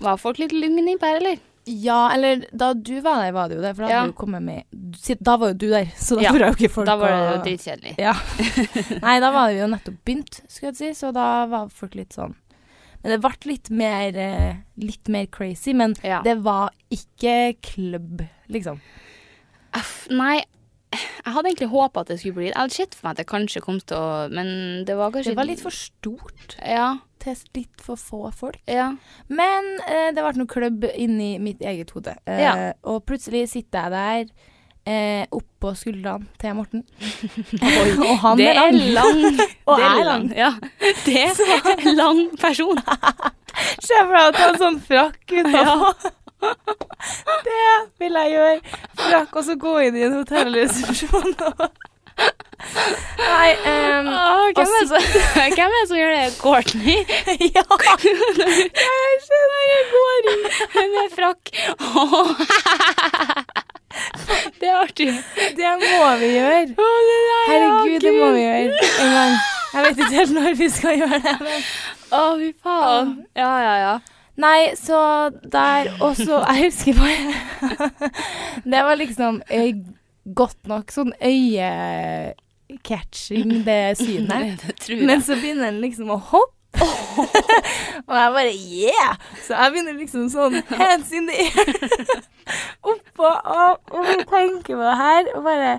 Speaker 1: Var folk litt lugne innpå her, eller?
Speaker 2: ja, eller da du var der, var det jo det. For da, hadde
Speaker 1: Ja.
Speaker 2: du kommet med, si- da var jo du der, [laughs] så da
Speaker 1: Ja,
Speaker 2: tror jeg jo ikke folk
Speaker 1: Da var det
Speaker 2: å-
Speaker 1: jo dritkjedelig.
Speaker 2: Nei, da var vi jo nettopp begynt, skulle jeg si, så da var folk litt sånn Men det ble litt mer, eh, litt mer crazy, men
Speaker 1: Ja.
Speaker 2: det var ikke klubb, liksom.
Speaker 1: Aff, nei, jeg hadde egentlig håpa at det skulle bli Jeg hadde sett for meg at det kanskje kom til å Men det var kanskje
Speaker 2: Det var litt for stort
Speaker 1: Ja.
Speaker 2: til litt for få folk.
Speaker 1: ja.
Speaker 2: Men eh, det ble noe klubb inni mitt eget hode. Eh,
Speaker 1: Ja.
Speaker 2: Og plutselig sitter jeg der eh, oppå skuldrene til Morten. og han
Speaker 1: Det
Speaker 2: er
Speaker 1: er
Speaker 2: lang.
Speaker 1: lang. [laughs]
Speaker 2: Og
Speaker 1: det
Speaker 2: jeg er
Speaker 1: Ja. Ah, Det er [laughs] en lang [laughs] person.
Speaker 2: Se for deg at han har sånn frakk utenpå. det vil jeg gjøre. Frakk, og så gå inn i en hotellresepsjon. og- Nei ehm,
Speaker 1: Åh, hvem, er det
Speaker 2: Og
Speaker 1: som, [laughs] hvem er det som gjør det? [laughs] Courtney?
Speaker 2: [laughs] Ja! Jeg skjønner, jeg går inn.
Speaker 1: Med frakk. Åh. [laughs] Det er artig.
Speaker 2: Det må vi gjøre. Herregud, det må vi gjøre en gang. Jeg vet ikke helt når vi skal gjøre det. men...
Speaker 1: Å, fy faen. Ja, ja, ja.
Speaker 2: Nei, så der også [laughs] Jeg husker bare Det var liksom eh, godt nok sånn øyecatching, det synet.
Speaker 1: Det tror jeg.
Speaker 2: Men så begynner den liksom å hoppe. og jeg bare yeah! Så jeg begynner liksom sånn hands in the [laughs] air. Oppå og, og tenker på det her og bare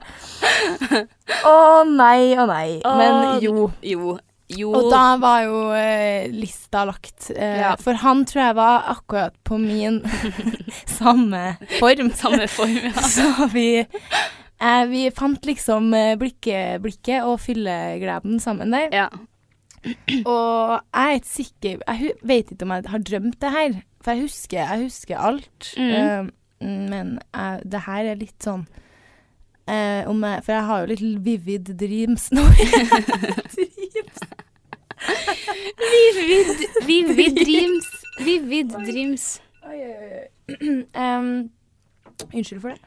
Speaker 2: Å nei, å nei. Men jo.
Speaker 1: Jo. Jo.
Speaker 2: Og da var jo eh, lista lagt. Eh,
Speaker 1: Ja.
Speaker 2: For han tror jeg var akkurat på
Speaker 1: [laughs]
Speaker 2: min samme form.
Speaker 1: Samme form, ja.
Speaker 2: [laughs] Så vi, eh, vi fant liksom eh, blikket, blikket og fyllegleden sammen der.
Speaker 1: ja.
Speaker 2: Og jeg er ikke sikker Jeg hu- vet ikke om jeg har drømt det her, for jeg husker, jeg husker alt.
Speaker 1: Mm.
Speaker 2: Eh, men jeg, det her er litt sånn eh, om jeg, For jeg har jo litt vivid dreams
Speaker 1: [laughs]
Speaker 2: nå. [laughs]
Speaker 1: Vivid, vivid dreams. Vivid dreams.
Speaker 2: Oi, oi, oi. [clears throat] Em, unnskyld for det.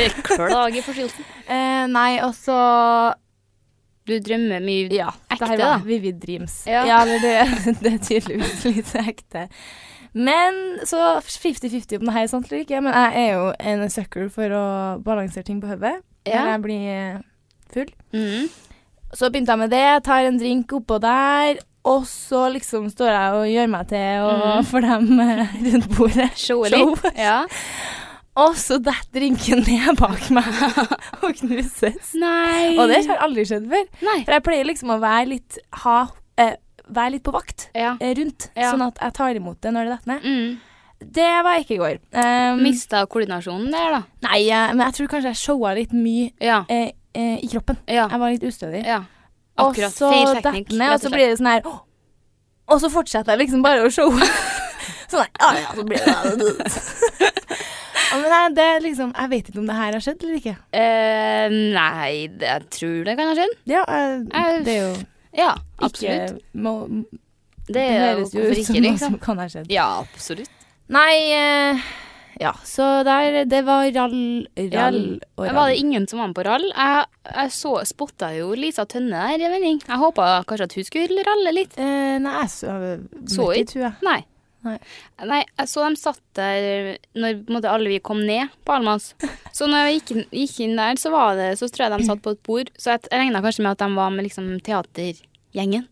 Speaker 1: Beklager forstyrrelsen.
Speaker 2: Eh, nei, og så
Speaker 1: Du drømmer mye.
Speaker 2: Ja,
Speaker 1: Ekte,
Speaker 2: det her
Speaker 1: da.
Speaker 2: var Vivid Dreams.
Speaker 1: Ja.
Speaker 2: eller det, [laughs] det er tydeligvis litt ekte. Men så 50-50 om det her er sant eller ikke. Men jeg er jo en sucker for å balansere ting på hodet
Speaker 1: Ja.
Speaker 2: når jeg blir full.
Speaker 1: Mm.
Speaker 2: Så begynte jeg med det, tar en drink oppå der. Og så liksom står jeg og gjør meg til og [laughs]
Speaker 1: Mhm.
Speaker 2: for dem eh, rundt bordet.
Speaker 1: Show
Speaker 2: Show.
Speaker 1: litt. Ja.
Speaker 2: Og så detter drinken ned bak [laughs] meg og knuses.
Speaker 1: Nei.
Speaker 2: Og det har aldri skjedd før.
Speaker 1: Nei.
Speaker 2: For jeg pleier liksom å være litt, ha, eh, være litt på vakt
Speaker 1: Ja.
Speaker 2: eh, rundt,
Speaker 1: Ja.
Speaker 2: sånn at jeg tar imot det når det detter ned.
Speaker 1: Mm.
Speaker 2: Det var jeg ikke i går. Um,
Speaker 1: Mista koordinasjonen der, da.
Speaker 2: nei, eh, men jeg tror kanskje jeg showa litt mye
Speaker 1: Ja.
Speaker 2: eh, eh, i kroppen.
Speaker 1: Ja.
Speaker 2: Jeg var litt ustødig.
Speaker 1: ja.
Speaker 2: Og
Speaker 1: Akkurat.
Speaker 2: så
Speaker 1: Feil
Speaker 2: detter
Speaker 1: teknikk.
Speaker 2: ned, og så blir det sånn her «Åh!» Og så fortsetter jeg liksom bare å
Speaker 1: [laughs]
Speaker 2: showe. [laughs] sånn her, ja, ja, så blir
Speaker 1: [laughs]
Speaker 2: det Ja, Men jeg, det er liksom, jeg vet ikke om det her har skjedd eller ikke.
Speaker 1: Eh, Nei, det, jeg tror det kan ha skjedd.
Speaker 2: Ja, eh,
Speaker 1: Jeg-
Speaker 2: det er jo
Speaker 1: Ja,
Speaker 2: ikke
Speaker 1: absolutt.
Speaker 2: må,
Speaker 1: Det,
Speaker 2: Det
Speaker 1: er jo
Speaker 2: høres jo
Speaker 1: hvorfor
Speaker 2: ut som
Speaker 1: ikke,
Speaker 2: noe
Speaker 1: liksom.
Speaker 2: som kan ha skjedd.
Speaker 1: Ja, absolutt.
Speaker 2: Nei eh, Ja, så der Det var rall, rall
Speaker 1: Men
Speaker 2: og
Speaker 1: Var det
Speaker 2: rall.
Speaker 1: ingen som var med på rall? Jeg, jeg så, spotta jo Lisa Tønne der i en vending. Jeg håpa kanskje at hun skulle ralle litt.
Speaker 2: Eh, nei, jeg så
Speaker 1: Så
Speaker 2: møtte
Speaker 1: ikke.
Speaker 2: tror jeg.
Speaker 1: Nei.
Speaker 2: Nei.
Speaker 1: Nei, jeg så dem satt der når på en måte, alle vi kom ned på Almas. Så når jeg gikk, inn- gikk inn der, så, var det, så tror jeg de satt på et bord. Så jeg regna kanskje med at de var med liksom, teatergjengen.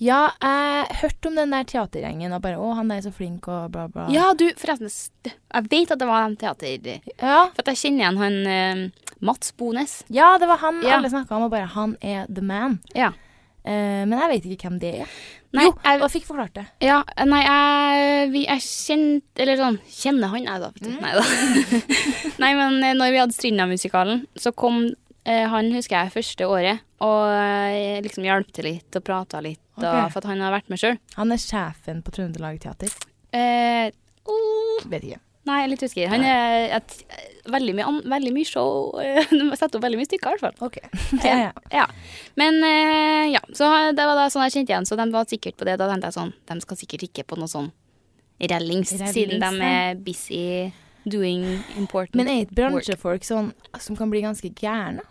Speaker 2: Ja, jeg hørte om den der teatergjengen og bare 'Å, han der er så flink', og bla, bla.
Speaker 1: Ja, du, forresten. s- Jeg vet at det var en teater...
Speaker 2: ja.
Speaker 1: For at jeg kjenner igjen han eh, Mats Bones.
Speaker 2: Ja, det var han
Speaker 1: Ja.
Speaker 2: alle snakka om, og bare 'han er the man'.
Speaker 1: Ja.
Speaker 2: Eh, men jeg vet ikke hvem det er.
Speaker 1: Nei,
Speaker 2: jo,
Speaker 1: jeg-
Speaker 2: jeg fikk forklart det.
Speaker 1: Ja, nei, jeg, vi, jeg kjente Eller sånn, kjenner han, jeg da. [laughs] vet du. Nei da. nei, men eh, når vi hadde Strinda-musikalen, så kom eh, han, husker jeg, første året. Og eh, liksom hjalp til litt og prata litt,
Speaker 2: Ok.
Speaker 1: og, for at han har vært med sjøl.
Speaker 2: Han er sjefen på Trøndelag Teater.
Speaker 1: Eh, oh,
Speaker 2: Vet ikke.
Speaker 1: nei, jeg er litt usikker. Han er et, veldig, mye, an- veldig mye show. [laughs] Setter opp veldig mye stykker, i hvert fall.
Speaker 2: Ok. [laughs] ja, ja.
Speaker 1: Ja. Men eh, ja, så det var da sånn jeg kjente igjen, så de var sikkert på det. Da tenkte jeg sånn, de skal sikkert ikke på noe sånn rallings,
Speaker 2: Rallings,
Speaker 1: siden de
Speaker 2: nei.
Speaker 1: er busy doing important.
Speaker 2: Men er ikke bransjefolk sånn som kan bli ganske gærne?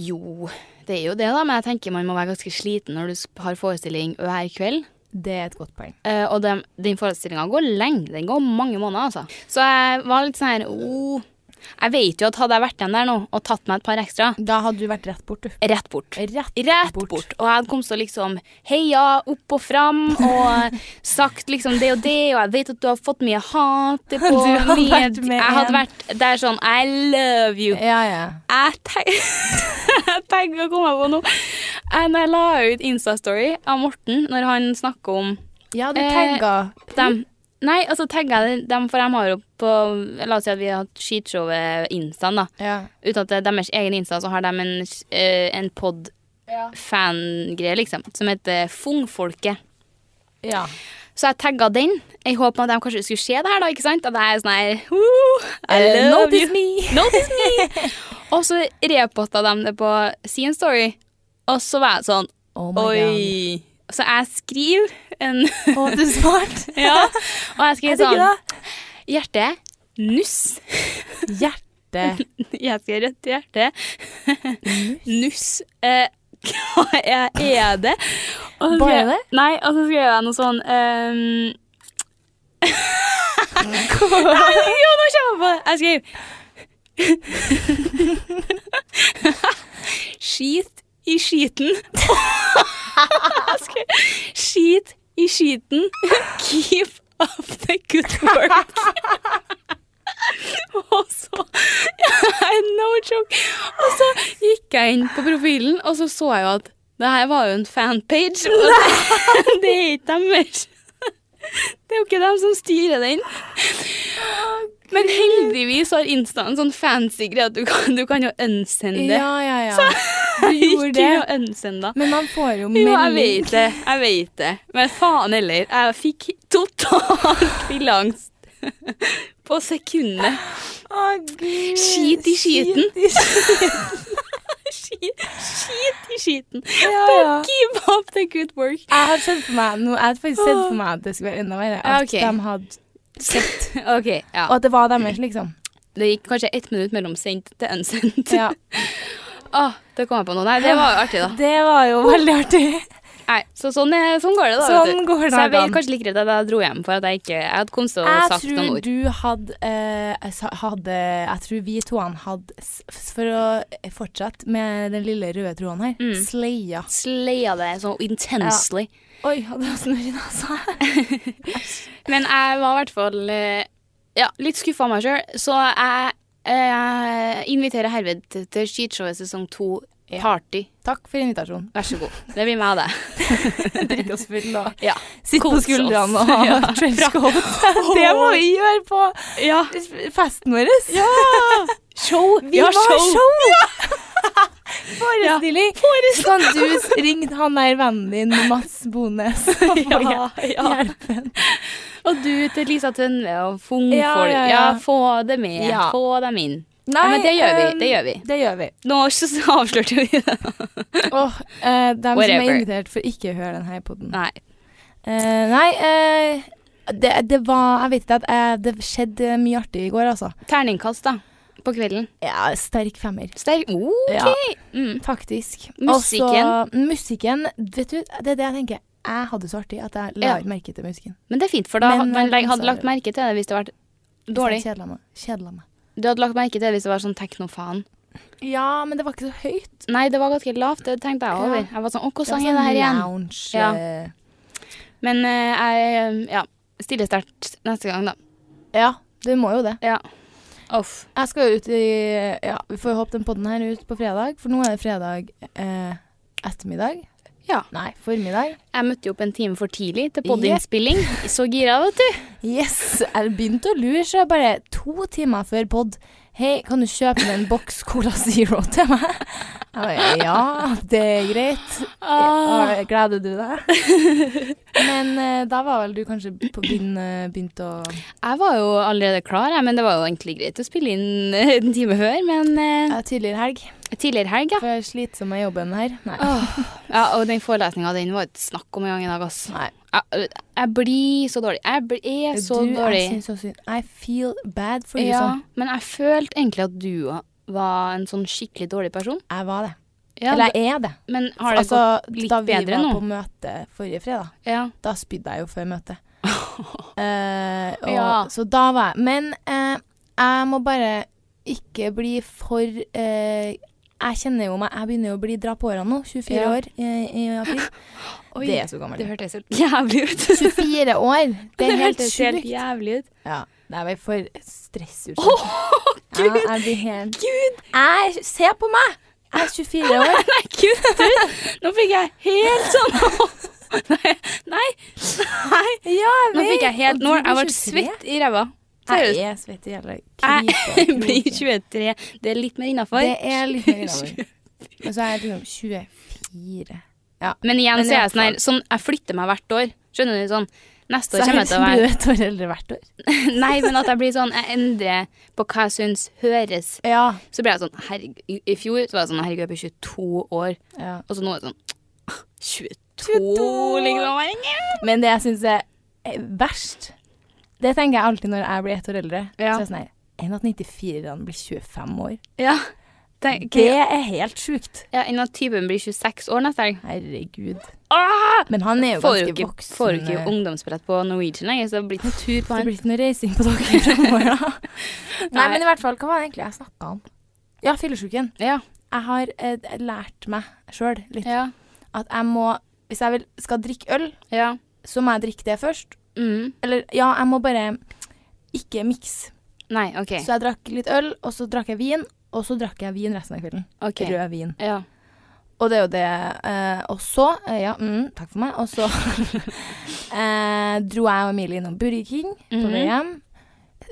Speaker 1: jo, det er jo det, da, men jeg tenker man må være ganske sliten når du sp- har forestilling hver kveld.
Speaker 2: Det er et godt poeng.
Speaker 1: Eh, og den, den forestillinga går lenge. Den går mange måneder, altså. Så jeg var litt sånn her oh. Jeg vet jo at hadde jeg vært igjen der nå og tatt meg et par ekstra,
Speaker 2: Da hadde du vært rett bort, du.
Speaker 1: rett bort.
Speaker 2: Rett,
Speaker 1: Rett bort. Og jeg kom så liksom heia opp og fram
Speaker 2: [laughs]
Speaker 1: og sagt liksom det og det, og jeg vet at du har fått mye hat på
Speaker 2: Du har
Speaker 1: mye
Speaker 2: vært med
Speaker 1: Jeg hadde
Speaker 2: en. Eh.
Speaker 1: vært der sånn I love you.
Speaker 2: Ja, ja.
Speaker 1: Jeg tenker, [laughs] jeg tenker å komme på noe. Jeg, når jeg la ut Insta-story av Morten, når han snakker om
Speaker 2: Ja, du
Speaker 1: Eh,
Speaker 2: tagga.
Speaker 1: dem Nei, altså tagga jeg dem, for de har jo på La oss si at vi har hatt skitshowet Instaen, da.
Speaker 2: Eh, Ja.
Speaker 1: Uten at det er deres egen Insta, så har de en, eh, en pod
Speaker 2: Ja.
Speaker 1: fangreie, liksom, som heter Fungfolket.
Speaker 2: ja.
Speaker 1: Så jeg tagga den. Jeg håpet at de kanskje skulle se det her, da. ikke sant? At jeg er sånn her «Woo, I love
Speaker 2: Notice
Speaker 1: you.
Speaker 2: me.
Speaker 1: Notice me! og så reposta de det på sin story, og så var jeg sånn
Speaker 2: Oh
Speaker 1: [laughs]
Speaker 2: my god.
Speaker 1: Oi. Så jeg skriver en [laughs]
Speaker 2: Å, du svarte.
Speaker 1: Ja. Og jeg skriver
Speaker 2: Er det ikke
Speaker 1: sånn
Speaker 2: det?
Speaker 1: Hjerte. Nuss.
Speaker 2: Hjerte.
Speaker 1: Jeg skriver rødt hjerte. [laughs] Nuss. Eh, hva er, er det? Og så
Speaker 2: Bare
Speaker 1: skrev-
Speaker 2: det?
Speaker 1: Nei, og så skrev jeg noe sånn ehm, Nei, [laughs] Jo, nå kommer jeg på det! Jeg skrev [laughs] Skit i skiten. [laughs] Jeg skrev, Skit i skiten. Keep up the good work. [laughs] Og så [laughs] No joke. Og så gikk jeg inn på profilen, og så så jeg jo at det her var jo en fanpage. Og det, [laughs] det er ikke deres. Det er jo ikke dem som styrer den. Men heldigvis har Insta en sånn fancy greie at du kan, du kan jo unsende.
Speaker 2: Ja, ja, ja. Du
Speaker 1: [laughs] Ikke
Speaker 2: gjorde det.
Speaker 1: å unsende.
Speaker 2: Men man får jo
Speaker 1: Jo,
Speaker 2: melding.
Speaker 1: jeg vet det. Jeg vet det. Men faen heller. Jeg fikk [laughs] totalt fillangst på sekundet.
Speaker 2: Å, Gud.
Speaker 1: Skit i skiten.
Speaker 2: Skit i
Speaker 1: [laughs]
Speaker 2: skiten.
Speaker 1: Skit, skit i skiten.
Speaker 2: Ja, ja.
Speaker 1: Keep up the good work.
Speaker 2: [laughs] Jeg har sett for meg nå- jeg hadde faktisk sett for meg at det skulle være enda verre. At
Speaker 1: Ok.
Speaker 2: de hadde,
Speaker 1: OK. ja.
Speaker 2: og at det var deres, liksom.
Speaker 1: Det gikk kanskje ett minutt mellom sendt til unsendt. [laughs]
Speaker 2: Ja.
Speaker 1: Åh, det kom jeg på nå. Nei, det var jo artig, da.
Speaker 2: Det var jo veldig artig.
Speaker 1: Nei, så sånn, er- sånn går det, da. vet du.
Speaker 2: Sånn går
Speaker 1: så jeg ble
Speaker 2: dagene.
Speaker 1: kanskje like redd at jeg dro hjem for at jeg ikke Jeg hadde kommet til å
Speaker 2: Jeg
Speaker 1: sagt noen
Speaker 2: tror
Speaker 1: ord.
Speaker 2: du hadde, eh, jeg sa- hadde Jeg tror vi to han hadde s- For å fortsette med den lille røde tråden her
Speaker 1: Mm.
Speaker 2: Sleia.
Speaker 1: Sleia det så intensely.
Speaker 2: Oi, hadde jeg snørr i nesa?
Speaker 1: [laughs] Men jeg var i hvert fall eh, ja, litt skuffa av meg sjøl, så jeg eh, inviterer herved til, til skishowet sesong to party.
Speaker 2: Takk for invitasjonen.
Speaker 1: Vær så god. Det blir meg og deg. [laughs]
Speaker 2: Drikk oss full og
Speaker 1: Ja.
Speaker 2: sitt på
Speaker 1: Kos oss. [laughs]
Speaker 2: skuldrene og ha [laughs]
Speaker 1: Ja. [laughs]
Speaker 2: trenchcoat. Det må vi gjøre på
Speaker 1: ja.
Speaker 2: festen vår.
Speaker 1: Show.
Speaker 2: Vi
Speaker 1: ja,
Speaker 2: må ha
Speaker 1: show. [laughs]
Speaker 2: show! Forestilling. Så kan du ringe han der vennen din, Mats Bones, og [laughs] få
Speaker 1: [laughs] Ja, ja.
Speaker 2: hjelpen.
Speaker 1: Og du til Lisa Tønve og Fung
Speaker 2: Ja,
Speaker 1: folk.
Speaker 2: ja,
Speaker 1: Ja,
Speaker 2: ja.
Speaker 1: få det med.
Speaker 2: Ja.
Speaker 1: Få dem inn. Ja, men det gjør vi,
Speaker 2: ehm,
Speaker 1: det gjør vi.
Speaker 2: Det gjør vi.
Speaker 1: Nå så [laughs] avslørte vi det.
Speaker 2: Åh, eh, dem som
Speaker 1: Whatever.
Speaker 2: er invitert, får ikke høre den her podden.
Speaker 1: Nei.
Speaker 2: Eh, nei eh, det, det var Jeg vet ikke at eh, det skjedde mye artig i går, altså.
Speaker 1: Terningkast, da. På kvelden.
Speaker 2: Ja, sterk femmer.
Speaker 1: Sterk. OK.
Speaker 2: Ja.
Speaker 1: Mm.
Speaker 2: Faktisk.
Speaker 1: Musikken.
Speaker 2: Og så- musikken Vet du, det er det jeg tenker. Jeg hadde så artig at jeg la
Speaker 1: Ja.
Speaker 2: ikke merke til musikken.
Speaker 1: Men det er fint, for da
Speaker 2: Men,
Speaker 1: hadde man
Speaker 2: eh,
Speaker 1: legg- hadde
Speaker 2: så-
Speaker 1: lagt merke til det hvis det hadde vært dårlig.
Speaker 2: Kjedla meg. Kjedla meg.
Speaker 1: Du hadde lagt merke til det hvis det var sånn teknofan.
Speaker 2: Ja, men det var ikke så høyt.
Speaker 1: Nei, det var ganske lavt, det tenkte jeg over.
Speaker 2: Ja.
Speaker 1: Jeg var sånn, å,
Speaker 2: Det var
Speaker 1: hvordan er
Speaker 2: sånn
Speaker 1: det her igjen?
Speaker 2: Lounge.
Speaker 1: Ja.
Speaker 2: eh,
Speaker 1: Men eh, jeg, ja, stiller sterkt neste gang da.
Speaker 2: ja, du må jo det.
Speaker 1: Ja. Uff.
Speaker 2: Jeg skal jo ut i Ja, vi får jo håpe den podden her er ut på fredag, for nå er det fredag eh, ettermiddag.
Speaker 1: Ja.
Speaker 2: Nei, formiddag.
Speaker 1: Jeg møtte jo opp en time for tidlig til
Speaker 2: Jepp.
Speaker 1: podinnspilling. Så gira,
Speaker 2: [laughs]
Speaker 1: vet du.
Speaker 2: Yes! Jeg begynte å lure, så jeg bare to timer før pod. Hei, kan du kjøpe en boks Cola Zero til meg? Jeg bare, ja, det er greit.
Speaker 1: Ah.
Speaker 2: Ja, Gleder du deg? [laughs] Men eh, da var vel du kanskje på begynn, eh, begynt å
Speaker 1: Jeg var jo allerede klar, jeg, men det var jo egentlig greit å spille inn eh, en time før. Men eh,
Speaker 2: Ja, tidligere helg.
Speaker 1: tidligere helg, ja.
Speaker 2: For jeg sliter med jobben her. Nei.
Speaker 1: ja. Og den forelesninga, den var et snakk om en gang i dag, ass.
Speaker 2: Ah. Nei.
Speaker 1: Jeg, jeg blir så dårlig. Jeg blir, er så
Speaker 2: du,
Speaker 1: dårlig.
Speaker 2: Jeg synes så synd. I feel bad for you,
Speaker 1: ja,
Speaker 2: sånn.
Speaker 1: men jeg følte egentlig at du var en sånn skikkelig dårlig person.
Speaker 2: Jeg var det.
Speaker 1: Ja,
Speaker 2: Eller jeg er det.
Speaker 1: men har det
Speaker 2: altså,
Speaker 1: gått litt
Speaker 2: da vi
Speaker 1: bedre
Speaker 2: var
Speaker 1: nå?
Speaker 2: på møte forrige fredag,
Speaker 1: gått ja.
Speaker 2: da spydde jeg jo før
Speaker 1: [laughs]
Speaker 2: møtet. Eh, og,
Speaker 1: Ja.
Speaker 2: Så da var jeg Men eh, jeg må bare ikke bli for eh, Jeg kjenner jo meg Jeg begynner jo å bli dra på årene nå. 24
Speaker 1: Ja.
Speaker 2: år i, i april.
Speaker 1: Oi,
Speaker 2: det er så gammelt.
Speaker 1: Det hørtes helt jævlig [laughs] ut.
Speaker 2: 24 år! Det er helt
Speaker 1: hørtes helt
Speaker 2: sjukt.
Speaker 1: jævlig ut.
Speaker 2: Ja. Nei, jeg er for stressutsatt.
Speaker 1: Åh,
Speaker 2: Ja,
Speaker 1: gud!
Speaker 2: jeg blir helt
Speaker 1: Gud!
Speaker 2: Jeg Se på meg! Jeg er 24
Speaker 1: [laughs]
Speaker 2: år.
Speaker 1: Nei, gud! du, Nå fikk jeg helt sånn Nei, nei, nei.
Speaker 2: Ja, jeg
Speaker 1: Nå fikk jeg helt Nå
Speaker 2: Og du
Speaker 1: jeg
Speaker 2: blir
Speaker 1: ble
Speaker 2: 23.
Speaker 1: svett i ræva.
Speaker 2: Jeg
Speaker 1: Seriøst.
Speaker 2: er svett i hele [laughs]
Speaker 1: Jeg
Speaker 2: kryper,
Speaker 1: blir
Speaker 2: kryper.
Speaker 1: 23. Det er litt mer innafor.
Speaker 2: Det er litt [laughs] mer innover. Men så er jeg liksom 24.
Speaker 1: Men igjen
Speaker 2: Men
Speaker 1: så er
Speaker 2: i
Speaker 1: jeg
Speaker 2: hvert
Speaker 1: sånn her
Speaker 2: fall.
Speaker 1: sånn, Jeg flytter meg hvert år. Skjønner du? sånn Neste år
Speaker 2: Så
Speaker 1: kommer jeg til å
Speaker 2: blir
Speaker 1: være [laughs]
Speaker 2: du et år eldre hvert år.
Speaker 1: Nei, men at jeg blir sånn Jeg endrer på hva jeg syns høres.
Speaker 2: Ja.
Speaker 1: Så ble jeg sånn herregud, I i fjor så var jeg sånn Herregud, jeg blir 22 år. Og så nå er det sånn 22,
Speaker 2: 22,
Speaker 1: liksom.
Speaker 2: Men det jeg syns er eh, verst, det tenker jeg alltid når jeg blir ett år eldre.
Speaker 1: Ja.
Speaker 2: Så er det sånn her Enn at 94-erne blir 25 år.
Speaker 1: Ja.
Speaker 2: Det er helt sjukt.
Speaker 1: Ja, Enn at typen blir 26 år neste helg.
Speaker 2: Herregud.
Speaker 1: Ah!
Speaker 2: Men han er jo
Speaker 1: Får jo
Speaker 2: ganske
Speaker 1: ikke,
Speaker 2: voksen.
Speaker 1: får jo ikke
Speaker 2: eh,
Speaker 1: ungdomsbrett på Norwegian lenger, så det blir ikke noe tur på
Speaker 2: Det
Speaker 1: han.
Speaker 2: blir ikke noe reising på dere fremover, da. [laughs] Nei,
Speaker 1: Nei.
Speaker 2: men i hvert fall, hva var det egentlig jeg snakka om? Ja, fyllesyken.
Speaker 1: Ja,
Speaker 2: Jeg har eh, lært meg sjøl litt
Speaker 1: ja,
Speaker 2: at jeg må Hvis jeg vil, skal drikke øl,
Speaker 1: ja.
Speaker 2: så må jeg drikke det først.
Speaker 1: Mm.
Speaker 2: Eller ja, jeg må bare ikke mikse.
Speaker 1: Nei, OK.
Speaker 2: Så jeg drakk litt øl, og så drakk jeg vin, og så drakk jeg vin resten av kvelden.
Speaker 1: ok.
Speaker 2: Rød vin.
Speaker 1: Ja.
Speaker 2: Og det er jo det. Eh, og så eh, Ja, mm, takk for meg. Og
Speaker 1: [laughs]
Speaker 2: så eh, dro jeg og Emilie innom Burger King på vei
Speaker 1: Mhm.
Speaker 2: hjem.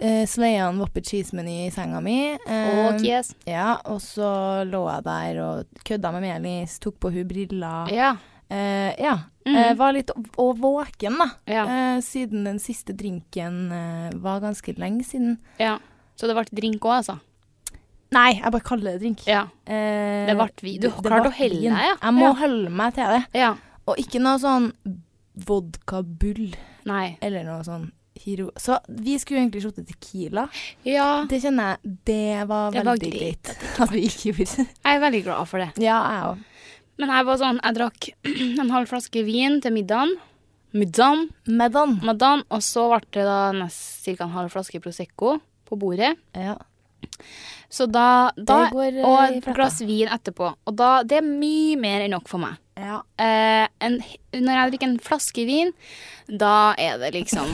Speaker 2: Eh, Sleia en Whopper cheese-meny i senga mi. Eh,
Speaker 1: Og yes.
Speaker 2: ja, og så lå jeg der og kødda med Melis, tok på hun briller.
Speaker 1: Ja.
Speaker 2: Eh, ja.
Speaker 1: Mm.
Speaker 2: Eh, var litt å- å våken, da.
Speaker 1: ja.
Speaker 2: Eh, siden den siste drinken eh, var ganske lenge siden.
Speaker 1: Ja. Så det ble drink òg, altså?
Speaker 2: Nei, jeg bare kaller det drink.
Speaker 1: Ja.
Speaker 2: Eh,
Speaker 1: Det ble vi. Du
Speaker 2: det-
Speaker 1: har
Speaker 2: det
Speaker 1: klart
Speaker 2: ble
Speaker 1: å helle
Speaker 2: vin.
Speaker 1: deg, ja.
Speaker 2: Jeg må holde meg til det.
Speaker 1: Ja.
Speaker 2: Og ikke noe sånn vodkabull
Speaker 1: Nei.
Speaker 2: eller noe sånn hero... Så vi skulle jo egentlig slutte tequila.
Speaker 1: Ja.
Speaker 2: Det kjenner jeg Det var
Speaker 1: Det
Speaker 2: veldig
Speaker 1: var greit
Speaker 2: greit. At vi ikke
Speaker 1: [laughs]
Speaker 2: gjorde det.
Speaker 1: Jeg er veldig glad for det.
Speaker 2: Ja, jeg òg.
Speaker 1: Men jeg var sånn Jeg drakk [clears throat] en halv flaske vin til middagen. Middagen.
Speaker 2: Medan.
Speaker 1: Middagen. Og så ble det da nest- cirka en halv flaske Prosecco på bordet.
Speaker 2: Ja.
Speaker 1: Så da, da
Speaker 2: Det går, eh,
Speaker 1: Og
Speaker 2: i
Speaker 1: et
Speaker 2: fletta.
Speaker 1: glass vin etterpå. Og da Det er mye mer enn nok for meg.
Speaker 2: ja.
Speaker 1: Eh, en, når jeg drikker en flaske vin, da er det
Speaker 2: [laughs]
Speaker 1: liksom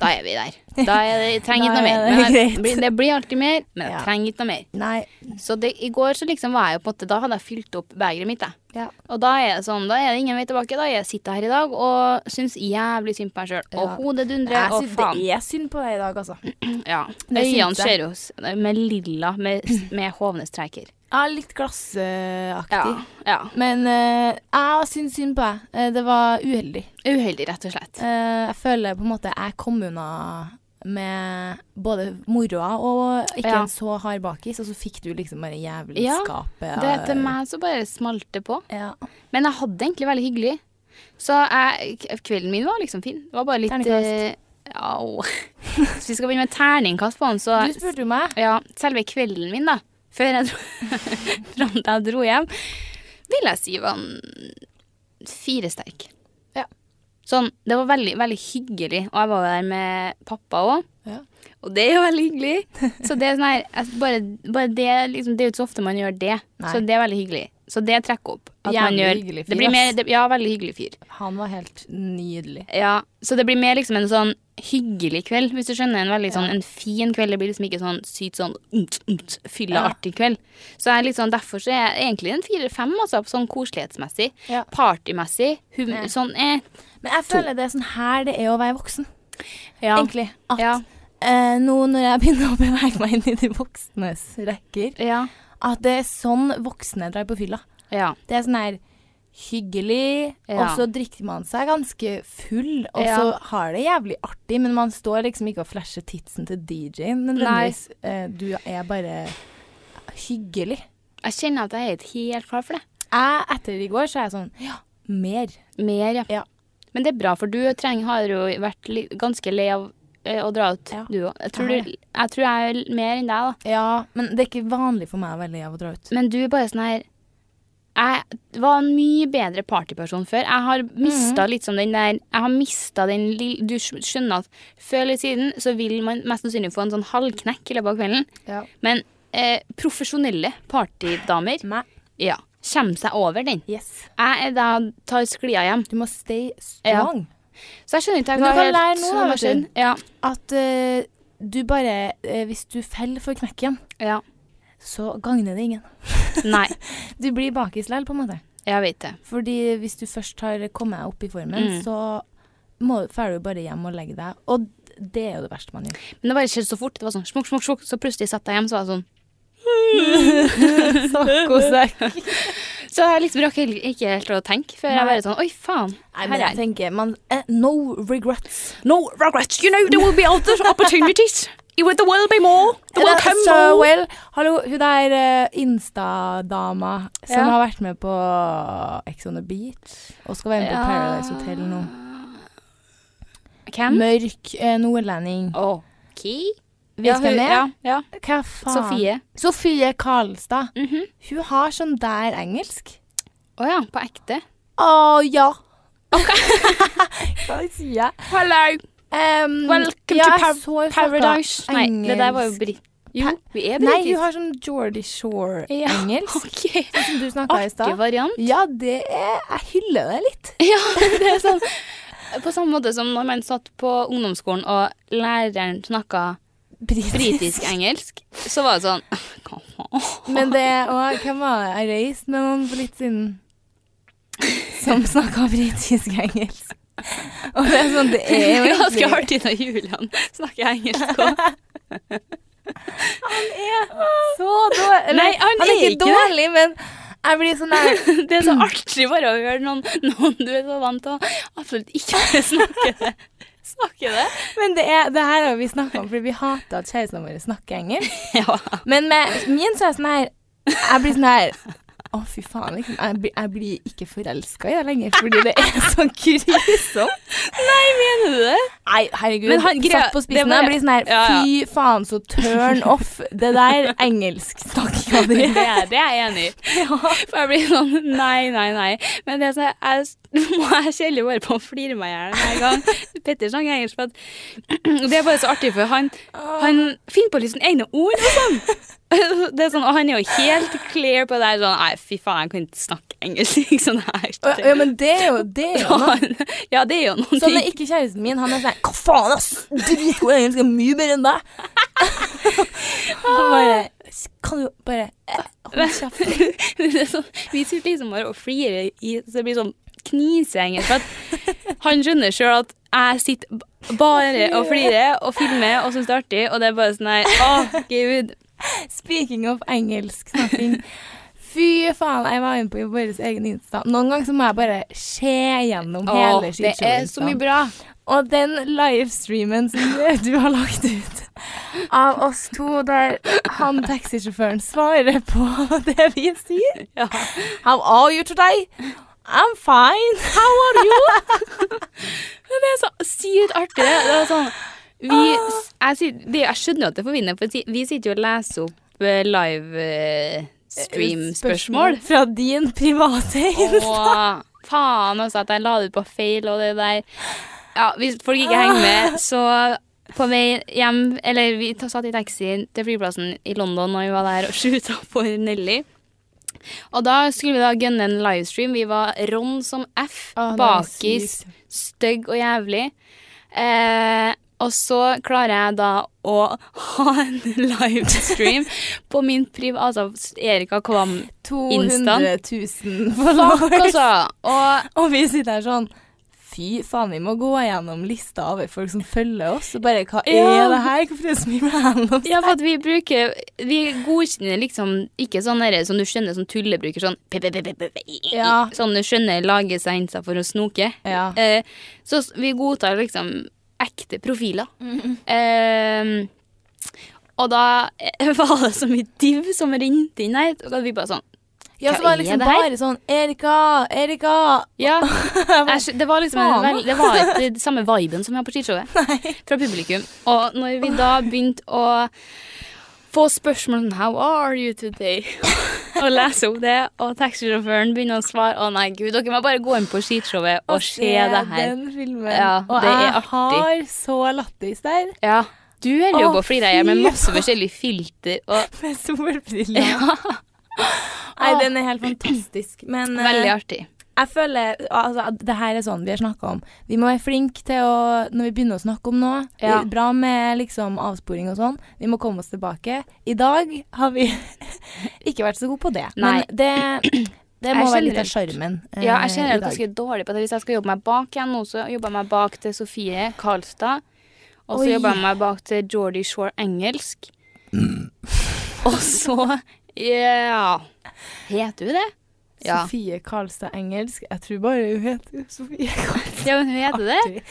Speaker 1: Da er vi der. Da er det, jeg trenger ikke
Speaker 2: Da
Speaker 1: noe mer.
Speaker 2: er det
Speaker 1: Men jeg,
Speaker 2: greit.
Speaker 1: blir- det blir alltid mer, men jeg
Speaker 2: Ja.
Speaker 1: trenger ikke noe mer.
Speaker 2: Nei.
Speaker 1: Så det, i går så liksom var jeg jo på en måte Da hadde jeg fylt opp begeret mitt, jeg.
Speaker 2: Ja.
Speaker 1: Og da er det sånn, da er det ingen vei tilbake. Da er jeg sitter jeg her i dag og syns jævlig synd på meg sjøl. Og
Speaker 2: Ja.
Speaker 1: hodet
Speaker 2: Jeg
Speaker 1: dundrer, og
Speaker 2: syns
Speaker 1: faen.
Speaker 2: det er synd på deg i dag, altså.
Speaker 1: Ja.
Speaker 2: Det syns
Speaker 1: Øynene
Speaker 2: jeg.
Speaker 1: ser jo s- med lilla, med, med hovne streker.
Speaker 2: Ja, litt glassaktig.
Speaker 1: Ja. ja.
Speaker 2: Men eh, jeg syns synd på deg. Eh, det var uheldig.
Speaker 1: Uheldig, rett og slett.
Speaker 2: Eh, jeg føler på en måte jeg kom unna med både moroa og ikke
Speaker 1: Ja.
Speaker 2: en så hard bakis, og så fikk du liksom bare jævlig
Speaker 1: Ja,
Speaker 2: skapet.
Speaker 1: Det er til meg som bare smalt det på.
Speaker 2: Ja.
Speaker 1: Men jeg hadde det egentlig veldig hyggelig. Så jeg, k- kvelden min var liksom fin. Det var bare litt
Speaker 2: Terningkast.
Speaker 1: eh, Au. Hvis vi skal begynne med terningkast på den, så
Speaker 2: Du spurte jo meg.
Speaker 1: ja, Selve kvelden min, da, før jeg dro, [laughs] fram til jeg dro hjem, vil jeg si var en fire sterk.
Speaker 2: Ja.
Speaker 1: Sånn, det var veldig, veldig hyggelig, og jeg var jo der med pappa òg.
Speaker 2: Ja.
Speaker 1: Og det er jo veldig hyggelig. Så det er sånn her altså, bare, bare det, liksom, det er jo ikke så ofte man gjør det,
Speaker 2: Nei.
Speaker 1: så det er veldig hyggelig. Så det trekker opp. At man
Speaker 2: Jævlig
Speaker 1: gjør,
Speaker 2: hyggelig fyr,
Speaker 1: det blir mer,
Speaker 2: ass.
Speaker 1: det, ja, veldig hyggelig fyr.
Speaker 2: Han var helt nydelig.
Speaker 1: Ja, så det blir mer liksom en sånn hyggelig kveld, hvis du skjønner. En veldig sånn, en fin kveld. Det blir liksom ikke sånn sykt sånn umt, umt, fylleartig kveld. Så jeg er litt sånn, derfor så er jeg egentlig en fire-fem, altså, sånn koselighetsmessig.
Speaker 2: Ja.
Speaker 1: Partymessig. Hum,
Speaker 2: Ja.
Speaker 1: Sånn eh.
Speaker 2: Men jeg føler det er sånn her det er å være voksen,
Speaker 1: Ja.
Speaker 2: egentlig. At
Speaker 1: Ja.
Speaker 2: eh, nå når jeg begynner å bevege meg inn i de voksnes rekker,
Speaker 1: Ja.
Speaker 2: at det er sånn voksne drar på fylla.
Speaker 1: ja.
Speaker 2: Det er sånn her hyggelig,
Speaker 1: Ja.
Speaker 2: og så drikker man seg ganske full, og
Speaker 1: Ja.
Speaker 2: så har det jævlig artig, men man står liksom ikke og flasher titsen til DJ-en nødvendigvis. Eh, Du er bare hyggelig.
Speaker 1: Jeg kjenner at jeg er ikke helt klar for det.
Speaker 2: Jeg, etter i går, så er jeg sånn Ja, mer.
Speaker 1: Mer, ja.
Speaker 2: Ja.
Speaker 1: Men det er bra, for du trenger, har jo vært li ganske lei av eh, å dra ut,
Speaker 2: Ja.
Speaker 1: du òg. Jeg, tror
Speaker 2: Jeg har
Speaker 1: du- jeg tror jeg er mer enn deg, da.
Speaker 2: Ja, men det er ikke vanlig for meg å være lei av å dra ut.
Speaker 1: Men du er bare sånn her Jeg var en mye bedre partyperson før. Jeg
Speaker 2: Mhm.
Speaker 1: har mista litt sånn den der Jeg har mista den lille Du skj- skjønner at før eller siden så vil man mest sannsynlig få en sånn halvknekk i løpet av kvelden.
Speaker 2: Ja.
Speaker 1: Men eh, profesjonelle partydamer
Speaker 2: Meg.
Speaker 1: ja, kommer seg over den.
Speaker 2: Yes.
Speaker 1: Jeg er da tar sklia hjem.
Speaker 2: Du må stay strong.
Speaker 1: Så jeg skjønner ikke
Speaker 2: Men du
Speaker 1: hva
Speaker 2: kan
Speaker 1: helt
Speaker 2: lære nå,
Speaker 1: som
Speaker 2: da,
Speaker 1: har
Speaker 2: vet du.
Speaker 1: skjedd. Ja,
Speaker 2: At eh, du bare eh, Hvis du faller for knekken,
Speaker 1: ja.
Speaker 2: så gagner det ingen.
Speaker 1: Nei,
Speaker 2: Du blir bakis likevel, på en måte.
Speaker 1: jeg vet det.
Speaker 2: Fordi hvis du først har kommet deg opp i formen,
Speaker 1: Mm.
Speaker 2: så må, drar du bare hjem og legger deg. Og det er jo det verste
Speaker 1: [laughs]
Speaker 2: man gjør.
Speaker 1: Men det bare skjedde så fort. Det var sånn smukk, smukk, smukk. Så plutselig satt jeg hjem, så var jeg sånn
Speaker 2: Saccosekk.
Speaker 1: Så jeg liksom rakk heller ikke helt å tenke før jeg
Speaker 2: Nei.
Speaker 1: bare sånn Oi, faen.
Speaker 2: Nei,
Speaker 1: her
Speaker 2: men
Speaker 1: er
Speaker 2: jeg tenker man, eh, No regrets.
Speaker 1: No regrets. You know there will be other opportunities. It will, there will be more.
Speaker 2: Eller Sarah Well. Hallo, hun der eh, Insta-dama som
Speaker 1: Ja.
Speaker 2: har vært med på Ex on the Beach og skal være med på Paradise Hotel nå.
Speaker 1: Hvem?
Speaker 2: Mørk eh, nordlending.
Speaker 1: OK.
Speaker 2: Vet du hvem det er?
Speaker 1: Ja, ja.
Speaker 2: Hva faen?
Speaker 1: Sofie.
Speaker 2: Sofie Karlstad.
Speaker 1: Å
Speaker 2: Hun har sånn der engelsk.
Speaker 1: ja, på ekte.
Speaker 2: Å ja. [laughs] Hva sier jeg?
Speaker 1: Hello,
Speaker 2: Um,
Speaker 1: Welcome
Speaker 2: ja,
Speaker 1: to
Speaker 2: jeg
Speaker 1: par-
Speaker 2: så jo fucka
Speaker 1: Paradise. Nei, det der var jo
Speaker 2: engelsk.
Speaker 1: britt... Jo,
Speaker 2: Pa-
Speaker 1: vi er
Speaker 2: Nei, hun
Speaker 1: britiske.
Speaker 2: har sånn Jordy
Speaker 1: Ja. [laughs]
Speaker 2: Shore-engelsk,
Speaker 1: OK.
Speaker 2: som du snakka i
Speaker 1: Artig
Speaker 2: stad.
Speaker 1: variant.
Speaker 2: Ja, det er Jeg hyller det litt.
Speaker 1: [laughs] Ja, det er sånn. På samme måte som når man satt på ungdomsskolen og læreren snakka
Speaker 2: Britisk.
Speaker 1: britisk-engelsk, så var det sånn [laughs] Hva faen?
Speaker 2: [laughs] Men det og Hvem var det jeg reiste med noen for litt siden?
Speaker 1: [laughs]
Speaker 2: Som snakka britisk-engelsk. Og det er sånn, det er jo
Speaker 1: [laughs] Ja,
Speaker 2: egentlig-
Speaker 1: Ganske artig når Julian snakker engelsk òg.
Speaker 2: så dårlig. Eller,
Speaker 1: Nei, han er ikke det.
Speaker 2: dårlig, men jeg blir sånn der
Speaker 1: [laughs] [laughs] Det er så artig bare å høre noen, noen du er så vant til å absolutt ikke [laughs] snakke det. Snakke det?
Speaker 2: Men det, er, det her har vi snakka om, fordi vi hater at kjærestene våre snakker engelsk.
Speaker 1: Ja.
Speaker 2: Men med min så er jeg sånn her Jeg blir sånn her Å, fy faen, liksom. Jeg, blir- jeg blir ikke forelska i deg lenger, fordi det er så grusomt.
Speaker 1: Nei, mener du det?
Speaker 2: Nei, herregud.
Speaker 1: Men han greier-
Speaker 2: satt
Speaker 1: det
Speaker 2: på spissen.
Speaker 1: var-
Speaker 2: Jeg blir sånn her
Speaker 1: Ja, ja.
Speaker 2: Fy faen, så turn off det der engelsksnakkinga di.
Speaker 1: [laughs] Det er, det er jeg enig i. [laughs] For jeg blir sånn nei, nei, nei. Men det er sånn, jeg, nå [laughs] må jeg kjenne bare på å flire meg i hjel hver gang Petter snakker engelsk. For at, [clears throat] det er bare så artig, for han, han finner på litt sånne egne ord og sånn. [laughs] Det er sånn, og han er jo helt clear på det her. Sånn, nei, fy faen, jeg kan ikke snakke engelsk. [laughs] Sånn her.
Speaker 2: Å, Ja, men det er jo det er jo noe.
Speaker 1: [laughs] Ja, det er jo noen
Speaker 2: Sånn
Speaker 1: ting.
Speaker 2: er ikke kjæresten min. Han er sånn Hva faen, ass! Dritgod engelsk er mye bedre enn
Speaker 1: [laughs]
Speaker 2: deg! Han bare Kan du bare eh, Hold kjeft.
Speaker 1: [laughs] det er sånn, vi sitter liksom bare og flirer i Så det blir sånn kniseengelsk. For at han skjønner sjøl at jeg sitter b- bare og flirer og filmer og syns det er artig, og det er bare sånn her Å, gud.
Speaker 2: Speaking of engelsk snakking. Fy faen, jeg var inne på vår egen Insta. Noen ganger så må jeg bare se gjennom
Speaker 1: Åh,
Speaker 2: hele
Speaker 1: det er så mye
Speaker 2: shitshow-instaen.
Speaker 1: bra.
Speaker 2: Og den livestreamen som du har lagt ut av oss to, der han taxisjåføren svarer på det vi sier
Speaker 1: Ja.
Speaker 2: How are you today? I'm fine. How are [laughs] you?
Speaker 1: Men det er så sykt artig. Det er sånn vi, jeg, sit- det, jeg skjønner jo at det forvinner, for si- vi sitter jo og leser opp eh, live eh, stream-spørsmål.
Speaker 2: Fra din private
Speaker 1: [laughs] Åh, altså,
Speaker 2: Ah.
Speaker 1: faen også at jeg la det ut på feil og det der. Ja, hvis folk ikke henger med, så På vei hjem, eller vi ta- satt i taxi til flyplassen i London når vi var der og [laughs] skjuta på Nelly. Og da skulle vi da gønne en livestream. Vi var ron som F,
Speaker 2: Ah, det er
Speaker 1: bakis,
Speaker 2: sykt.
Speaker 1: stygg og jævlig. Eh, og så klarer jeg da å ha en [laughs] livestream på min priv... Altså Erika
Speaker 2: [laughs]
Speaker 1: Kvam.
Speaker 2: 200 000
Speaker 1: Fuck,
Speaker 2: followers.
Speaker 1: altså! Og
Speaker 2: Og vi sitter her sånn Fy faen, vi må gå gjennom lista over folk som følger oss. Og bare hva
Speaker 1: Ja.
Speaker 2: er det her? Hvorfor er det så mye randoms?
Speaker 1: Ja, for at vi bruker Vi godkjenner liksom ikke sånn derre som du skjønner som tullebruker, sånn pe- pe- pe- pe- pe- pe-
Speaker 2: Ja.
Speaker 1: Sånn du skjønner lager seg innsats for å snoke.
Speaker 2: Ja.
Speaker 1: Eh, så s- vi godtar liksom ekte profiler.
Speaker 2: Mm.
Speaker 1: Eh, og da eh, [laughs] var det så mye div som rente inn her, og vi bare sånn
Speaker 2: Ja,
Speaker 1: Hva
Speaker 2: så var det
Speaker 1: er
Speaker 2: liksom
Speaker 1: det her?
Speaker 2: bare sånn Erika, Erika.
Speaker 1: Ja. [laughs] Jeg, skj- det var liksom en,
Speaker 2: Faen.
Speaker 1: vel- Det var ikke det samme viben som vi har på skishowet. Fra publikum. Og når vi da begynte å få spørsmål om How are you [laughs] today? og lese opp det, og taxisjåføren begynner å svare Å nei, gud, dere må bare gå inn på skishowet og se det her.
Speaker 2: Den filmen.
Speaker 1: Ja,
Speaker 2: og
Speaker 1: det er
Speaker 2: jeg
Speaker 1: artig.
Speaker 2: har så lættis der.
Speaker 1: Ja. Du holder jo
Speaker 2: Å,
Speaker 1: på å flire her med
Speaker 2: fy
Speaker 1: masse forskjellige filter og
Speaker 2: Med solbriller.
Speaker 1: ja,
Speaker 2: Nei, den er helt fantastisk. Men eh,
Speaker 1: Veldig artig.
Speaker 2: jeg føler altså, at det her er sånn vi har snakka om. Vi må være flinke til å Når vi begynner å snakke om noe
Speaker 1: Ja.
Speaker 2: det er Bra med liksom avsporing og sånn. Vi må komme oss tilbake. I dag har vi [laughs] ikke vært så gode på det.
Speaker 1: Nei.
Speaker 2: Men det, det
Speaker 1: Jeg
Speaker 2: må være litt av
Speaker 1: generelt-
Speaker 2: sjarmen. eh,
Speaker 1: Ja, jeg kjenner at jeg
Speaker 2: i
Speaker 1: er
Speaker 2: dag.
Speaker 1: ganske dårlig på det. Hvis jeg skal jobbe meg bak igjen nå, så jobber jeg meg bak til Sofie Karlstad. Og så
Speaker 2: Oi.
Speaker 1: jobber jeg meg bak til Jordy Shore engelsk.
Speaker 2: Mm.
Speaker 1: Og så Ja. Heter hun det? Ja.
Speaker 2: Sofie Karlstad engelsk. Jeg tror bare hun heter Sofie Karlstad.
Speaker 1: ja, men hun heter det?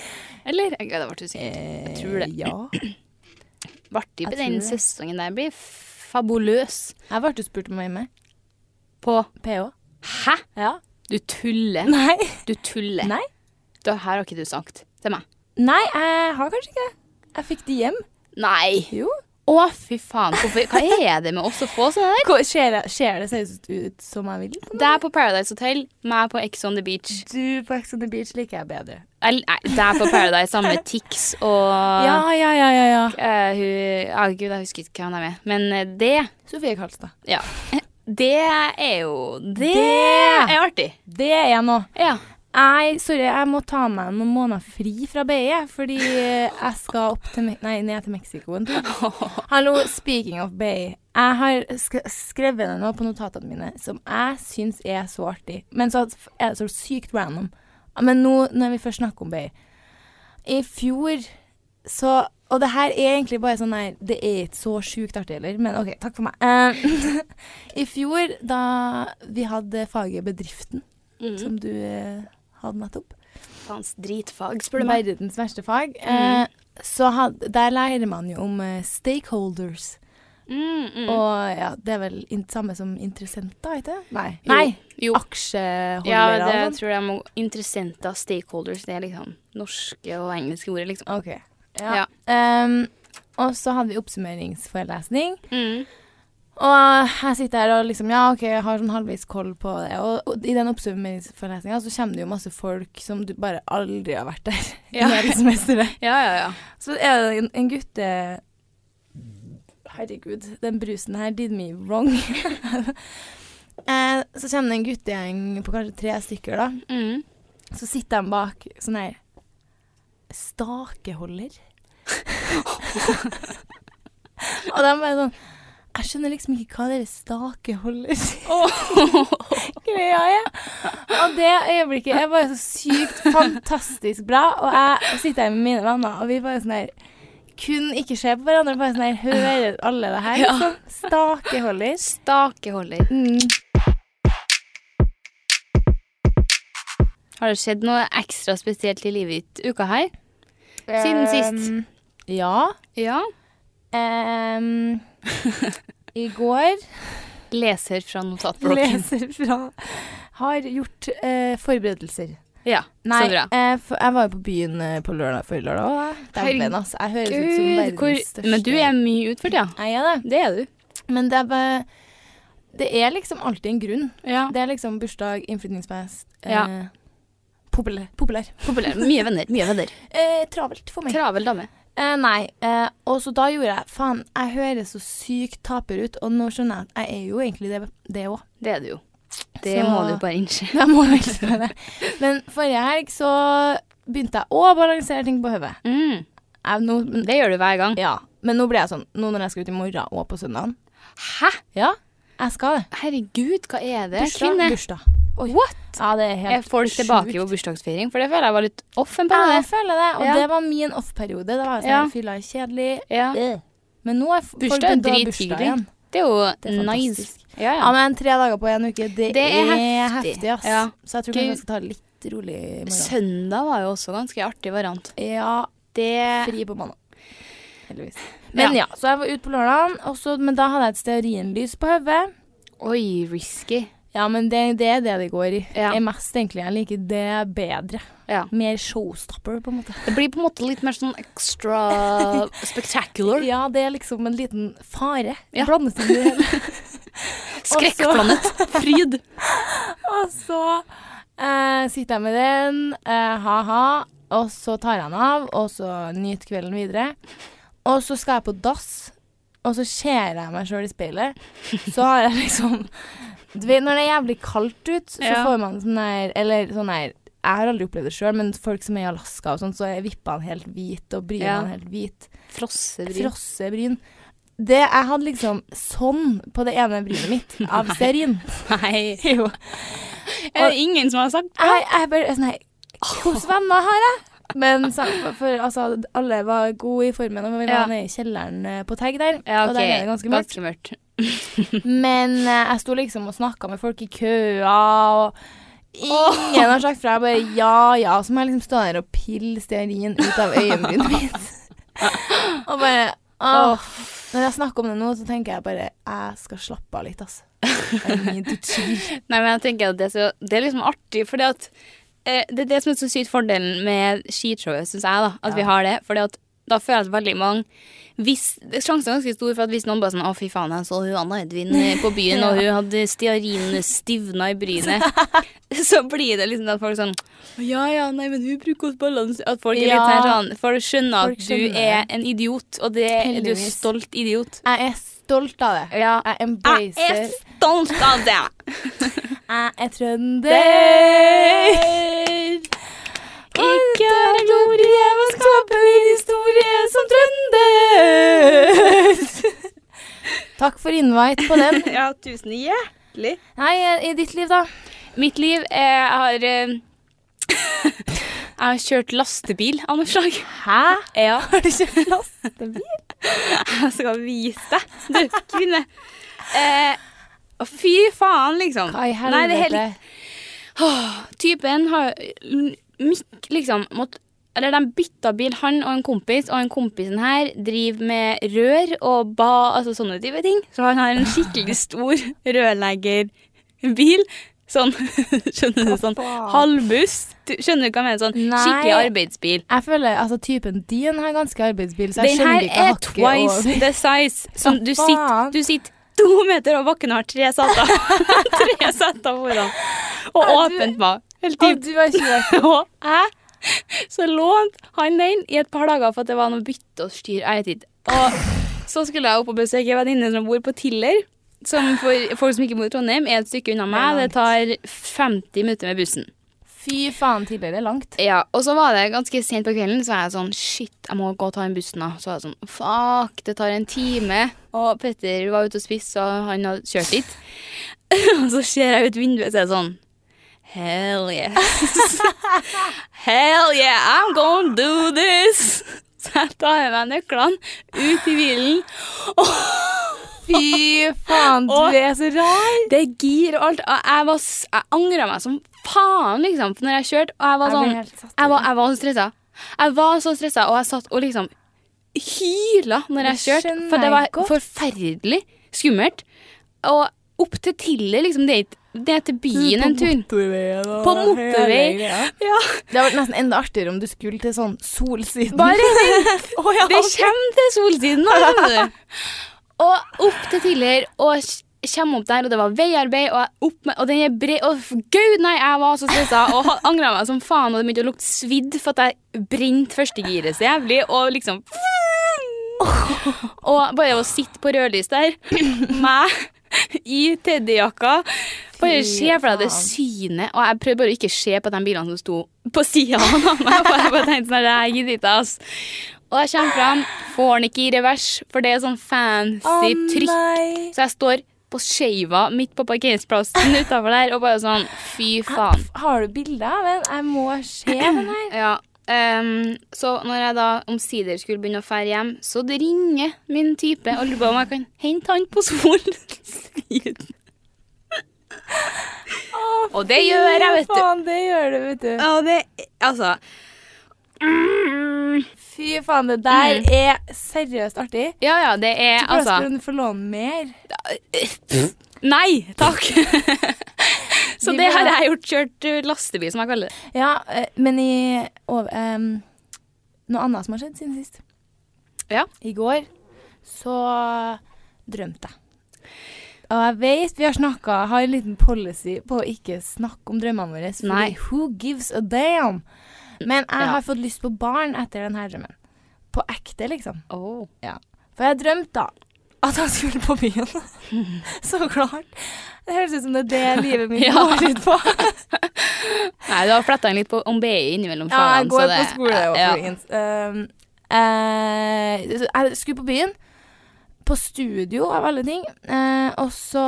Speaker 1: Eller? Jeg vet, ble usikker.
Speaker 2: Jeg
Speaker 1: tror det.
Speaker 2: Eh, Ja.
Speaker 1: Artig
Speaker 2: jeg
Speaker 1: på
Speaker 2: tror
Speaker 1: den
Speaker 2: det.
Speaker 1: sesongen der blir fabuløs.
Speaker 2: Jeg ble jo spurt om å være med.
Speaker 1: På
Speaker 2: PH.
Speaker 1: Hæ?
Speaker 2: Ja.
Speaker 1: Du tuller.
Speaker 2: Nei.
Speaker 1: Du tuller.
Speaker 2: Nei.
Speaker 1: Det her har ikke du sagt til meg.
Speaker 2: Nei, jeg har kanskje ikke det. Jeg fikk det hjem.
Speaker 1: Nei.
Speaker 2: Jo.
Speaker 1: Å, fy faen. Hvorfor, hva er det med oss å få sånn sånne der?
Speaker 2: Ser det, ser det seriøst ut som jeg vil?
Speaker 1: Deg på Paradise Hotel, meg på Ex on the Beach.
Speaker 2: Du på Ex on the Beach liker jeg bedre.
Speaker 1: Eller, Nei, det er på Paradise sammen med Tix [laughs] og
Speaker 2: Ja, ja, ja, ja. ja.
Speaker 1: eh, hun ah, Gud, jeg husker ikke hvem de er med. Men eh, det
Speaker 2: Sofie Karlstad.
Speaker 1: Ja. [laughs] Det er jo Det,
Speaker 2: Det!
Speaker 1: er artig.
Speaker 2: Det er jeg nå.
Speaker 1: Ja.
Speaker 2: Nei, sorry, jeg må ta meg noen måneder fri fra BI, fordi jeg skal opp til, Me- nei, ned til Mexico en tur. Hallo, speaking of BI. Jeg har sk skrevet ned noe på notatene mine som jeg syns er så artig, men så er det så sykt random. Men nå, når vi først snakker om BI I fjor så Og det her er egentlig bare sånn her Det er ikke så sjukt artig heller, men OK, takk for meg. Eh, [laughs] I fjor, da vi hadde faget Bedriften,
Speaker 1: Mm.
Speaker 2: som du eh, hadde nettopp
Speaker 1: Faens dritfag, spør du meg.
Speaker 2: Verdens verste fag. Eh, så had, der lærer man jo om eh, stakeholders.
Speaker 1: Mm, mm.
Speaker 2: Og ja, det er vel in samme som interessenter, ikke det? Nei.
Speaker 1: Jo. jo.
Speaker 2: Aksjeholdere
Speaker 1: Ja, det
Speaker 2: og sånn.
Speaker 1: tror jeg må Interessenter, stakeholders, det er liksom norske og engelske ord, liksom.
Speaker 2: OK. Ja.
Speaker 1: Ja.
Speaker 2: Ehm, og så hadde vi oppsummeringsforelesning.
Speaker 1: Mm.
Speaker 2: Og jeg sitter her og liksom Ja, OK, jeg har sånn halvveis koll på det. Og, og i den oppsummeringsforelesninga så kommer det jo masse folk som du bare aldri har vært der
Speaker 1: Ja.
Speaker 2: [laughs] i hele semesteret.
Speaker 1: Ja, ja, ja.
Speaker 2: Så er det en, en gutte Herregud, den brusen her did me wrong. [laughs] eh, så kommer det en guttegjeng på kanskje tre stykker, da.
Speaker 1: Mm.
Speaker 2: Så sitter de bak sånn her
Speaker 1: [laughs]
Speaker 2: Stakeholder. Og de bare sånn Jeg skjønner liksom ikke hva dere
Speaker 1: [laughs]
Speaker 2: stakeholder greia er. Og det øyeblikket er bare så sykt fantastisk bra. Og jeg sitter her med mine venner, og vi bare sånn her kun ikke se på hverandre, bare sånn her Hører alle det her? Liksom. Stakeholder.
Speaker 1: Stakeholder.
Speaker 2: Mm.
Speaker 1: Har det skjedd noe ekstra spesielt i livet ditt uka her? Siden sist.
Speaker 2: Um, Ja.
Speaker 1: Ja. [laughs]
Speaker 2: Um, I går
Speaker 1: Leser fra notatblokken.
Speaker 2: leser [laughs] fra Har gjort eh, forberedelser.
Speaker 1: [laughs] Ja,
Speaker 2: Nei,
Speaker 1: så bra.
Speaker 2: eh, for jeg var jo på byen eh, på lørdag forrige lørdag òg. Dæven, altså. Jeg høres ut som
Speaker 1: Gud,
Speaker 2: verdens
Speaker 1: hvor,
Speaker 2: største
Speaker 1: men du er mye utført, ja.
Speaker 2: Jeg er det.
Speaker 1: Det er du.
Speaker 2: Men det er bare Det er liksom alltid en grunn.
Speaker 1: Ja.
Speaker 2: Det er liksom bursdag, innflytningsfest eh,
Speaker 1: Ja.
Speaker 2: Populær. populær.
Speaker 1: [laughs] Populær. Mye venner. mye venner.
Speaker 2: Eh, travelt for meg.
Speaker 1: Travel dame.
Speaker 2: Eh, nei. Eh, og så da gjorde jeg Faen, jeg høres så sykt taper ut, og nå skjønner jeg at jeg er jo egentlig det- det òg.
Speaker 1: Det er det jo. Det
Speaker 2: Så-
Speaker 1: må du bare [laughs] innse.
Speaker 2: [laughs] Jeg må vel si det. Men forrige helg så begynte jeg å balansere ting på hodet.
Speaker 1: Mm,
Speaker 2: Jeg- nå-
Speaker 1: det gjør du hver gang.
Speaker 2: Ja. Men nå ble jeg sånn Nå når jeg skal ut i morgen og på søndagen
Speaker 1: Hæ?
Speaker 2: Ja, jeg skal det.
Speaker 1: Herregud, hva er det?
Speaker 2: Bursdag.
Speaker 1: Kvinne.
Speaker 2: Bursdag. Oi.
Speaker 1: What?
Speaker 2: Ja, det er
Speaker 1: Er
Speaker 2: helt
Speaker 1: folk tilbake
Speaker 2: sjukt.
Speaker 1: på bursdagsfeiring? For det føler jeg var litt off en
Speaker 2: Ja, jeg
Speaker 1: periode.
Speaker 2: føler det. Og
Speaker 1: Ja.
Speaker 2: det var min off-periode. Det var jo sånn
Speaker 1: Ja.
Speaker 2: jeg fylla kjedelig.
Speaker 1: Ja.
Speaker 2: Øh. Men nå er f- folk
Speaker 1: Bursdag er
Speaker 2: begynt å ha
Speaker 1: drithyggelig.
Speaker 2: bursdag igjen.
Speaker 1: Det er jo
Speaker 2: Det er
Speaker 1: nice.
Speaker 2: fantastisk.
Speaker 1: Ja,
Speaker 2: Ja,
Speaker 1: ja.
Speaker 2: men tre dager på én uke, det,
Speaker 1: Det er
Speaker 2: er, heftig.
Speaker 1: heftig.
Speaker 2: ass.
Speaker 1: Ja.
Speaker 2: Så jeg
Speaker 1: Gud.
Speaker 2: tror kanskje jeg skal ta det litt rolig i morgen.
Speaker 1: Søndag var jo også ganske artig variant.
Speaker 2: Ja,
Speaker 1: Det
Speaker 2: fri på mandag. Heldigvis. [laughs] Men ja, så jeg var ute på lørdagen, og så- men da hadde jeg et stearinlys på hodet.
Speaker 1: Oi, risky.
Speaker 2: Ja, men det, det er det det går i.
Speaker 1: Ja.
Speaker 2: Jeg mest egentlig jeg liker det bedre.
Speaker 1: Ja.
Speaker 2: Mer showstopper, på en måte.
Speaker 1: Det blir på en måte litt mer sånn extra spectacular.
Speaker 2: Ja, det er liksom en liten fare.
Speaker 1: Ja.
Speaker 2: Blandet inn i det hele.
Speaker 1: Skrekkplanet. Fryd.
Speaker 2: [laughs] Og så eh, sitter jeg med den, eh, ha-ha, og så tar jeg den av, og så nyt kvelden videre. Og så skal jeg på dass, og så ser jeg meg sjøl i speilet. Så har jeg [laughs] liksom Du vet når det er jævlig kaldt ut, så
Speaker 1: Ja.
Speaker 2: får man sånn der Eller sånn der Jeg har aldri opplevd det sjøl, men folk som er i Alaska og sånn, så er vippene helt hvite, og brynene
Speaker 1: Ja.
Speaker 2: helt hvite.
Speaker 1: Frossebryn.
Speaker 2: Frossebryn. Det, jeg hadde liksom sånn på det ene brynet
Speaker 1: [laughs]
Speaker 2: mitt av stearin.
Speaker 1: Nei.
Speaker 2: Jo.
Speaker 1: Er det ingen som har sagt
Speaker 2: Jeg, jeg bare er sånn her Hvilke venner har jeg? Men så, for, for, altså, alle var gode i formen, og vi
Speaker 1: Ja.
Speaker 2: var nede i kjelleren eh, på Tag der.
Speaker 1: Ja,
Speaker 2: Og
Speaker 1: ok.
Speaker 2: der er det ganske mørkt.
Speaker 1: Ganske mørkt.
Speaker 2: Men eh, jeg sto liksom og snakka med folk i køa, og ingen har sagt fra. Jeg bare ja, ja. Så må jeg liksom stå der og pille stearin ut av øyenbrynet mitt. og bare åh. Når jeg snakker om det nå, så tenker jeg bare jeg skal slappe av litt, altså. I need to chill.
Speaker 1: Nei, men jeg tenker at det er, så, det er liksom artig, fordi at eh, Det er det som er så sykt fordelen med skishowet, syns jeg, da. At
Speaker 2: Ja.
Speaker 1: vi har det. Fordi at da føler jeg at veldig mange hvis, Sjansen er ganske stor for at hvis noen bare sånn Å, fy faen, jeg så hun Anna Edvin eh, på [laughs] byen, og hun hadde stearin stivna i brynet. [laughs] så blir det liksom at folk sånn «Å, Ja ja, nei, men hun bruker oss balanse At folk er
Speaker 2: Ja.
Speaker 1: litt her sånn For å skjønne
Speaker 2: Folk
Speaker 1: at du
Speaker 2: skjønner
Speaker 1: er
Speaker 2: det.
Speaker 1: en idiot, og det er du er
Speaker 2: Heldigvis.
Speaker 1: stolt idiot.
Speaker 2: Jeg er stolt av det.
Speaker 1: Ja.
Speaker 2: Jeg
Speaker 1: Jeg
Speaker 2: embracer
Speaker 1: er stolt av det! [laughs]
Speaker 2: Jeg er trønder. Ikke er ord jeg må skape din historie som trønder. [laughs] Takk for invite på den.
Speaker 1: Ja, tusen hjertelig.
Speaker 2: Nei, i ditt liv, da?
Speaker 1: Mitt liv eh, Jeg har eh, [laughs] Jeg har kjørt lastebil av noe slag. [laughs]
Speaker 2: Hæ?
Speaker 1: Ja.
Speaker 2: [laughs] Har du kjøpt lastebil?
Speaker 1: Jeg skal vise deg, du kvinne. Eh, å, fy faen, liksom.
Speaker 2: Hva i
Speaker 1: Nei, det er helt-
Speaker 2: helvete?
Speaker 1: Typen har Mikk liksom mått eller de bytta bil, han og en kompis, og han kompisen her driver med rør og ba, altså sånne type ting. Så han har en skikkelig stor rørleggerbil. Sånn, [laughs] skjønner du, sånn
Speaker 2: faen?
Speaker 1: halvbuss. Du- Skjønner du hva jeg mener? Sånn
Speaker 2: Nei.
Speaker 1: skikkelig arbeidsbil.
Speaker 2: Jeg føler altså typen din har ganske arbeidsbil, så
Speaker 1: Den
Speaker 2: jeg
Speaker 1: her
Speaker 2: skjønner ikke
Speaker 1: er
Speaker 2: hakket
Speaker 1: twice
Speaker 2: [laughs] over.
Speaker 1: the size. Som du, sitter,
Speaker 2: faen?
Speaker 1: du sitter to meter over bakken og har tre
Speaker 2: [laughs]
Speaker 1: seter. tre seter foran. Og
Speaker 2: Er du-
Speaker 1: åpent bak. Helt
Speaker 2: At
Speaker 1: dypt.
Speaker 2: du har kjørt
Speaker 1: Og jeg så lånte han den i et par dager for at det var noe bytte og styr. Jeg vet ikke. Og så skulle jeg opp og besøke en venninne som bor på Tiller. Som for folk som ikke bor i Trondheim, er et stykke unna meg. Det tar 50 minutter med bussen.
Speaker 2: Fy faen, tidligere langt.
Speaker 1: Ja, og så var det ganske sent på kvelden, så er jeg sånn Shit, jeg må gå og ta den bussen, da. Så var jeg sånn Fuck, det tar en time. Og Petter var ute og spiste, og han hadde kjørt dit. [laughs] og så ser jeg ut vinduet, så er det sånn Hell yes. [laughs] Hell yeah, I'm gonna do this. [laughs] Så jeg tar med meg nøklene ut i bilen. [laughs]
Speaker 2: Fy faen,
Speaker 1: Og-
Speaker 2: du er så rar.
Speaker 1: Det er gir og alt. Og jeg, var, s- jeg angra meg som faen, liksom, for når jeg kjørte. Og jeg var
Speaker 2: Jeg ble
Speaker 1: sånn
Speaker 2: helt satt ut.
Speaker 1: Jeg var, jeg var så stressa. Jeg var så stressa, og jeg satt og liksom hyla når jeg
Speaker 2: Det
Speaker 1: kjørte.
Speaker 2: skjønner
Speaker 1: For det
Speaker 2: jeg
Speaker 1: var
Speaker 2: godt.
Speaker 1: forferdelig skummelt. Og opp til Tiller, liksom. Det er ikke- det er til byen en tur. På
Speaker 2: På
Speaker 1: motorvei.
Speaker 2: motorvei. Det hadde vært nesten enda artigere om du skulle til sånn solsiden.
Speaker 1: Bare
Speaker 2: [laughs]
Speaker 1: tenk,
Speaker 2: Å, ja.
Speaker 1: [laughs] det kommer til solsiden nå, skjønner du. Og opp til Tiller, og kommer opp der, og det var veiarbeid, og, jeg opp med, og den er bred Og f- gud, nei, jeg var så stressa og ha- angra meg som faen, og det begynte å lukte svidd for at jeg brente førstegiret så jævlig, og liksom [laughs] Og bare å sitte på rødlys der, [clears throat] meg i teddyjakka Bare
Speaker 2: Fy
Speaker 1: se for deg det
Speaker 2: faen.
Speaker 1: synet, og jeg prøvde bare å ikke se på de bilene som sto på sida av meg, [laughs] for jeg bare tenkte sånn Jeg gidder ikke, ass. Og jeg kommer fram, får den ikke i revers, for det er sånn fancy trykk.
Speaker 2: nei.
Speaker 1: Så jeg står på skeiva midt på parkeringsplassen [laughs] utafor der og bare sånn Fy faen.
Speaker 2: Har du bilde av den? Jeg må
Speaker 1: [clears throat]
Speaker 2: se den her.
Speaker 1: Ja. ehm, så når jeg da omsider skulle begynne å fære hjem, så det ringer min type og lurer på om jeg kan hente han på [laughs] Solsiden.
Speaker 2: Å,
Speaker 1: Og det gjør jeg, vet du.
Speaker 2: Faen, det gjør du, vet du.
Speaker 1: Og det Altså.
Speaker 2: Fy faen, det der er seriøst artig.
Speaker 1: [clears throat] Ja Mm. ja, det er
Speaker 2: Hvordan
Speaker 1: altså
Speaker 2: skulle hun få låne mer?
Speaker 1: Nei takk. [laughs] så
Speaker 2: Vi
Speaker 1: det
Speaker 2: må-
Speaker 1: har jeg gjort. Kjørt eh, lastebil, som jeg kaller det.
Speaker 2: Ja, eh, men i over, em, Noe annet som har skjedd siden sist.
Speaker 1: Ja.
Speaker 2: I går så drømte jeg. Og jeg vet vi har snakka, har en liten policy på å ikke snakke om drømmene våre. fordi
Speaker 1: Nei.
Speaker 2: Who gives a damn? Men jeg
Speaker 1: Ja.
Speaker 2: har fått lyst på barn etter denne drømmen. På ekte, liksom.
Speaker 1: Oh.
Speaker 2: For jeg drømte da at jeg skulle på byen.
Speaker 1: [laughs]
Speaker 2: så klart. Det høres ut som det er det livet mitt
Speaker 1: Ja.
Speaker 2: går ut på.
Speaker 1: [laughs] Nei, du har fletta inn litt på om BI innimellom
Speaker 2: Ja, jeg
Speaker 1: fagene,
Speaker 2: går
Speaker 1: så det-
Speaker 2: på skole og
Speaker 1: ja.
Speaker 2: folkens. Um, eh, jeg skulle på byen. På studio, av alle ting. eh, og så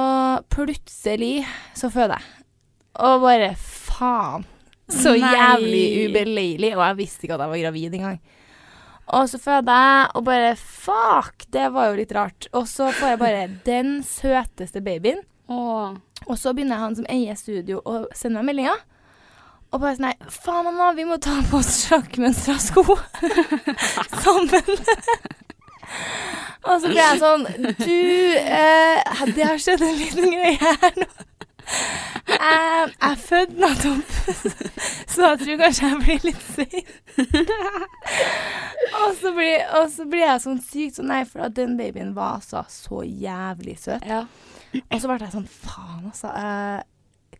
Speaker 2: plutselig så føder jeg. Og bare faen. Så
Speaker 1: Nei.
Speaker 2: jævlig ubeleilig. Og jeg visste ikke at jeg var gravid engang. Og så føder jeg, og bare fuck, det var jo litt rart. Og så får jeg bare den søteste babyen.
Speaker 1: Åh.
Speaker 2: Og så begynner han som eier studio å sende meg meldinger. Og bare sånn her Faen, mamma, vi må ta på oss sjakkmønstra sko [laughs] sammen. og så ble jeg sånn Du, eh, det har skjedd en liten greie her nå. Eh, jeg fødte nettopp, [laughs] så jeg tror kanskje jeg blir litt sein. og, så blir- og så blir jeg sånn sykt sånn Nei, for at den babyen var altså så jævlig søt.
Speaker 1: Ja.
Speaker 2: Og så ble jeg sånn, faen altså, eh,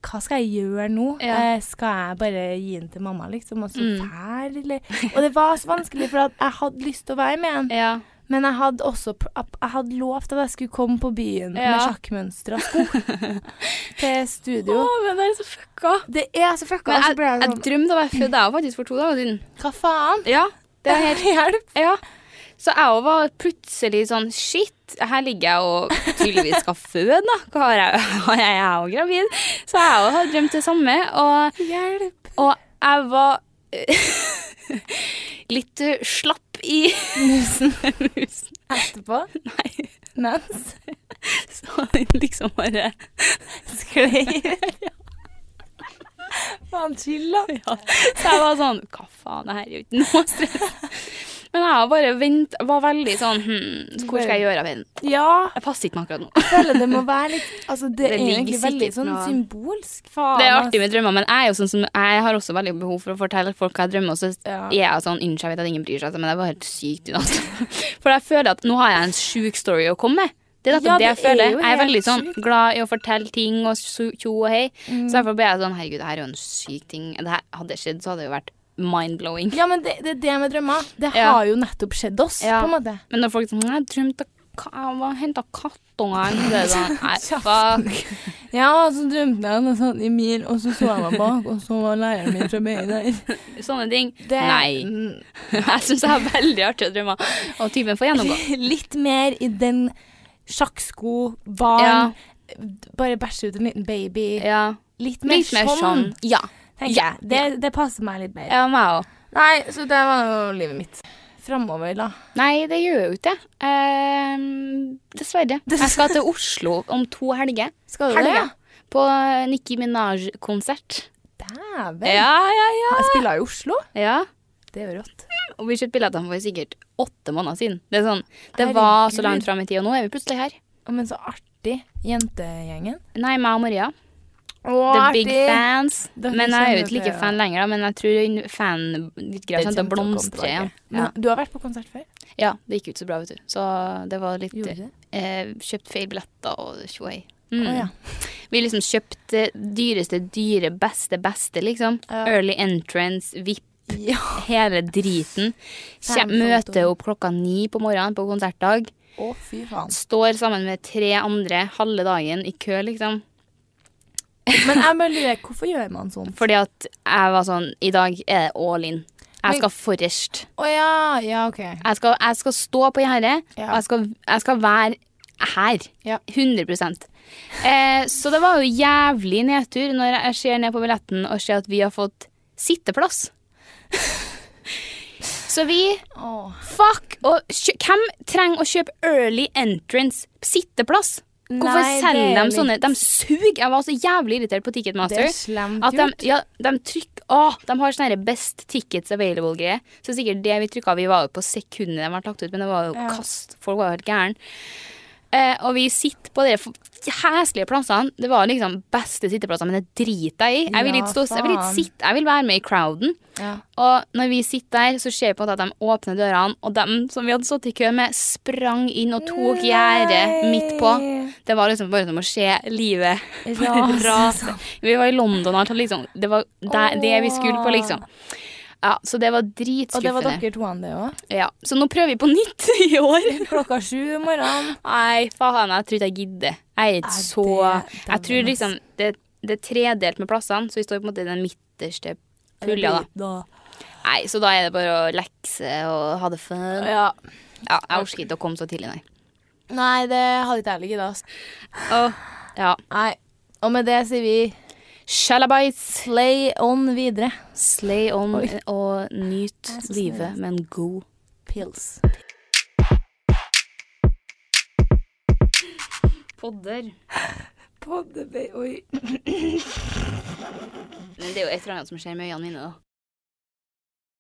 Speaker 2: hva skal jeg gjøre nå?
Speaker 1: Ja.
Speaker 2: Eh, skal jeg bare gi den til mamma, liksom, og så
Speaker 1: Mm.
Speaker 2: fær, eller? Og det var så vanskelig, for at jeg hadde lyst til å være med en,
Speaker 1: ja.
Speaker 2: men jeg hadde også, pr- ap- jeg hadde lovt at jeg skulle komme på byen med
Speaker 1: Ja.
Speaker 2: sjakkmønster og
Speaker 1: [laughs]
Speaker 2: sko til studio.
Speaker 1: men det er så fucka.
Speaker 2: Det er så fucka,
Speaker 1: Men
Speaker 2: og så
Speaker 1: jeg,
Speaker 2: ble jeg
Speaker 1: jeg
Speaker 2: sånn,
Speaker 1: drømte av jeg fødte jeg var faktisk for to dager siden.
Speaker 2: hva faen?
Speaker 1: Ja,
Speaker 2: Det er helt hjelp.
Speaker 1: [laughs] ja. Så jeg òg var plutselig sånn Shit, her ligger jeg og tydeligvis skal føde, da. Hva har jeg, [laughs] har jeg jeg er jo gravid. Så jeg òg har drømt det samme. Og,
Speaker 2: Hjelp.
Speaker 1: og jeg var [laughs] litt eh, slapp i [laughs] musen. musen.
Speaker 2: Etterpå,
Speaker 1: Nei,
Speaker 2: mens,
Speaker 1: så den liksom bare
Speaker 2: sklei ut. Faen, chill da.
Speaker 1: Ja. Så jeg var sånn Hva faen, det her er jo ikke noe stress. Men jeg har bare vent, var veldig sånn hm, Hvor skal jeg gjøre av den?
Speaker 2: Ja,
Speaker 1: Jeg passer ikke meg akkurat nå.
Speaker 2: Jeg føler det må være litt Altså, det,
Speaker 1: Det
Speaker 2: er
Speaker 1: ligger
Speaker 2: egentlig
Speaker 1: sikkert
Speaker 2: veldig sånn
Speaker 1: noe-
Speaker 2: symbolsk. Faen,
Speaker 1: Det er artig med drømmer, men jeg, er jo sånn som, jeg har også veldig behov for å fortelle folk hva jeg drømmer. Og så
Speaker 2: altså. Ja.
Speaker 1: er jeg sånn Unnskyld, jeg vet at ingen bryr seg, men det var helt sykt i natt. [laughs] For jeg føler at nå har jeg en sjuk story å komme med. Det er nettopp
Speaker 2: Ja,
Speaker 1: det jeg
Speaker 2: det er
Speaker 1: føler.
Speaker 2: jo
Speaker 1: Jeg er
Speaker 2: helt
Speaker 1: veldig sånn
Speaker 2: sykt. Mm.
Speaker 1: glad i å fortelle ting og su- tjo og hei. Så derfor ble jeg sånn Herregud, det her er jo en syk ting. Det her hadde det skjedd, så hadde det jo vært mind-blowing. [laughs]
Speaker 2: Ja, men det, det er det med drømmer. Det
Speaker 1: Ja.
Speaker 2: har jo nettopp skjedd oss,
Speaker 1: Ja.
Speaker 2: på en måte.
Speaker 1: Men når folk sånn Jeg drømte jeg henta kattungene. Det er sånn
Speaker 2: [laughs]
Speaker 1: Nei,
Speaker 2: Kjapt.
Speaker 1: fuck.
Speaker 2: Ja, og så drømte jeg noe sånt i mil, og så så jeg meg bak, og så var læreren min fra BI der.
Speaker 1: Sånne ting.
Speaker 2: [laughs] Det,
Speaker 1: Nei. [laughs]
Speaker 2: Mm,
Speaker 1: Jeg syns jeg har veldig artige drømmer. Og typen får gjennomgå.
Speaker 2: [laughs] Litt mer i den sjakksko, barn, bare bæsje ut en liten baby.
Speaker 1: Ja.
Speaker 2: Litt mer,
Speaker 1: Litt mer
Speaker 2: sånn,
Speaker 1: sånn. Ja.
Speaker 2: tenker
Speaker 1: Ja.
Speaker 2: jeg. Det, det passer meg litt bedre.
Speaker 1: Ja, meg òg.
Speaker 2: Nei, så det var jo livet mitt. Framover, da.
Speaker 1: Nei, det gjør jo ikke det. Ehm,
Speaker 2: [laughs]
Speaker 1: dessverre. Jeg skal til Oslo om to helger.
Speaker 2: Skal du det?
Speaker 1: Helga. På Nikki Minaj-konsert.
Speaker 2: Dæven.
Speaker 1: Ja, ja, ja.
Speaker 2: Jeg spiller i Oslo.
Speaker 1: ja.
Speaker 2: Det er jo rått.
Speaker 1: Og vi kjøpte billetter for sikkert åtte måneder siden. Det er sånn, det var så
Speaker 2: Herregud.
Speaker 1: langt fram i tid, og nå er vi plutselig her.
Speaker 2: Å, Men så artig. Jentegjengen.
Speaker 1: Nei, meg og Maria.
Speaker 2: Å,
Speaker 1: The big fans.
Speaker 2: Dere
Speaker 1: men jeg er jo
Speaker 2: kjenner
Speaker 1: ikke like
Speaker 2: til-
Speaker 1: fan lenger, da. Men jeg tror hun- fan litt greit kommer til å blomstre igjen. Ja.
Speaker 2: Du har vært på konsert før?
Speaker 1: ja, det gikk ut så bra, vet du. Så det var litt
Speaker 2: Gjorde du det?
Speaker 1: eh, Kjøpt feil billetter og tjohei. Mm.
Speaker 2: Å, ja.
Speaker 1: Vi liksom kjøpte dyreste, dyre, beste, beste, liksom.
Speaker 2: Ja.
Speaker 1: Early entrance, VIP,
Speaker 2: ja.
Speaker 1: hele driten. Kjem,
Speaker 2: Fem
Speaker 1: møter opp klokka ni på morgenen på konsertdag.
Speaker 2: Å, fy faen.
Speaker 1: Står sammen med tre andre halve dagen i kø, liksom.
Speaker 2: [laughs] Men jeg bare lurer, hvorfor gjør man sånn?
Speaker 1: Fordi at jeg var sånn I dag er det all in.
Speaker 2: Men-
Speaker 1: Jeg skal forrest.
Speaker 2: Å ja, ja, OK.
Speaker 1: Jeg skal, jeg skal stå på gjerdet,
Speaker 2: Ja.
Speaker 1: og jeg skal, jeg skal være her.
Speaker 2: Ja.
Speaker 1: 100 eh, Så det var jo jævlig nedtur når jeg ser ned på billetten og ser at vi har fått sitteplass. [laughs] Så vi
Speaker 2: Å.
Speaker 1: Fuck! Og kjø hvem trenger å kjøpe early entrance sitteplass? Hvorfor
Speaker 2: Nei, det
Speaker 1: selger
Speaker 2: er
Speaker 1: de sånne?
Speaker 2: litt-
Speaker 1: De suger! Jeg var så jævlig irritert på
Speaker 2: Det
Speaker 1: Ticketmaster.
Speaker 2: er slemt
Speaker 1: At de,
Speaker 2: gjort.
Speaker 1: ja, de trykker Å, de har sånne her best tickets available-greier. Så sikkert det vi trykka Vi var jo på sekundet de ble lagt ut, men det var jo
Speaker 2: Ja.
Speaker 1: kast. Folk var jo helt gæren. Eh, og vi sitter på de f- heslige plassene. Det var liksom beste sitteplassene, men det driter jeg i. Jeg vil
Speaker 2: Ja,
Speaker 1: ikke stå Jeg vil ikke
Speaker 2: faen.
Speaker 1: sitte Jeg vil være med i crowden.
Speaker 2: Ja.
Speaker 1: Og når vi sitter der, så ser vi på en måte at de åpner dørene, og dem som vi hadde stått i kø med, sprang inn og tok gjerdet midt på. Det var liksom bare som å se livet bare
Speaker 2: Rase.
Speaker 1: [laughs] rase. Vi var i London og alt, og liksom, det var der, det vi skulle på, liksom. Ja, så det var
Speaker 2: Og det var
Speaker 1: dritskuffende.
Speaker 2: dere to an det òg?
Speaker 1: Ja, så nå prøver vi på nytt [laughs] i år.
Speaker 2: Klokka sju om
Speaker 1: [laughs]
Speaker 2: morgenen.
Speaker 1: Nei, faen, jeg tror ikke jeg gidder. Jeg er
Speaker 2: Nei,
Speaker 1: ikke så
Speaker 2: det-
Speaker 1: Jeg tror liksom det, det er tredelt med plassene, så vi står på en måte i den midterste pulja, da. Nei, så da er det bare å lekse og ha det fun.
Speaker 2: Ja.
Speaker 1: Ja, jeg orker ikke å komme så tidlig, nei.
Speaker 2: Nei, det hadde ikke jeg ligget da.
Speaker 1: Åh, ja.
Speaker 2: Nei. Og med det sier vi
Speaker 1: Shalabites,
Speaker 2: play on videre.
Speaker 1: slay on og nyt
Speaker 2: Jeg er så
Speaker 1: livet med en god
Speaker 2: Pills.
Speaker 1: podder.
Speaker 2: Poddebaby. Oi.
Speaker 1: Men det er jo et eller annet som skjer med øynene mine, da.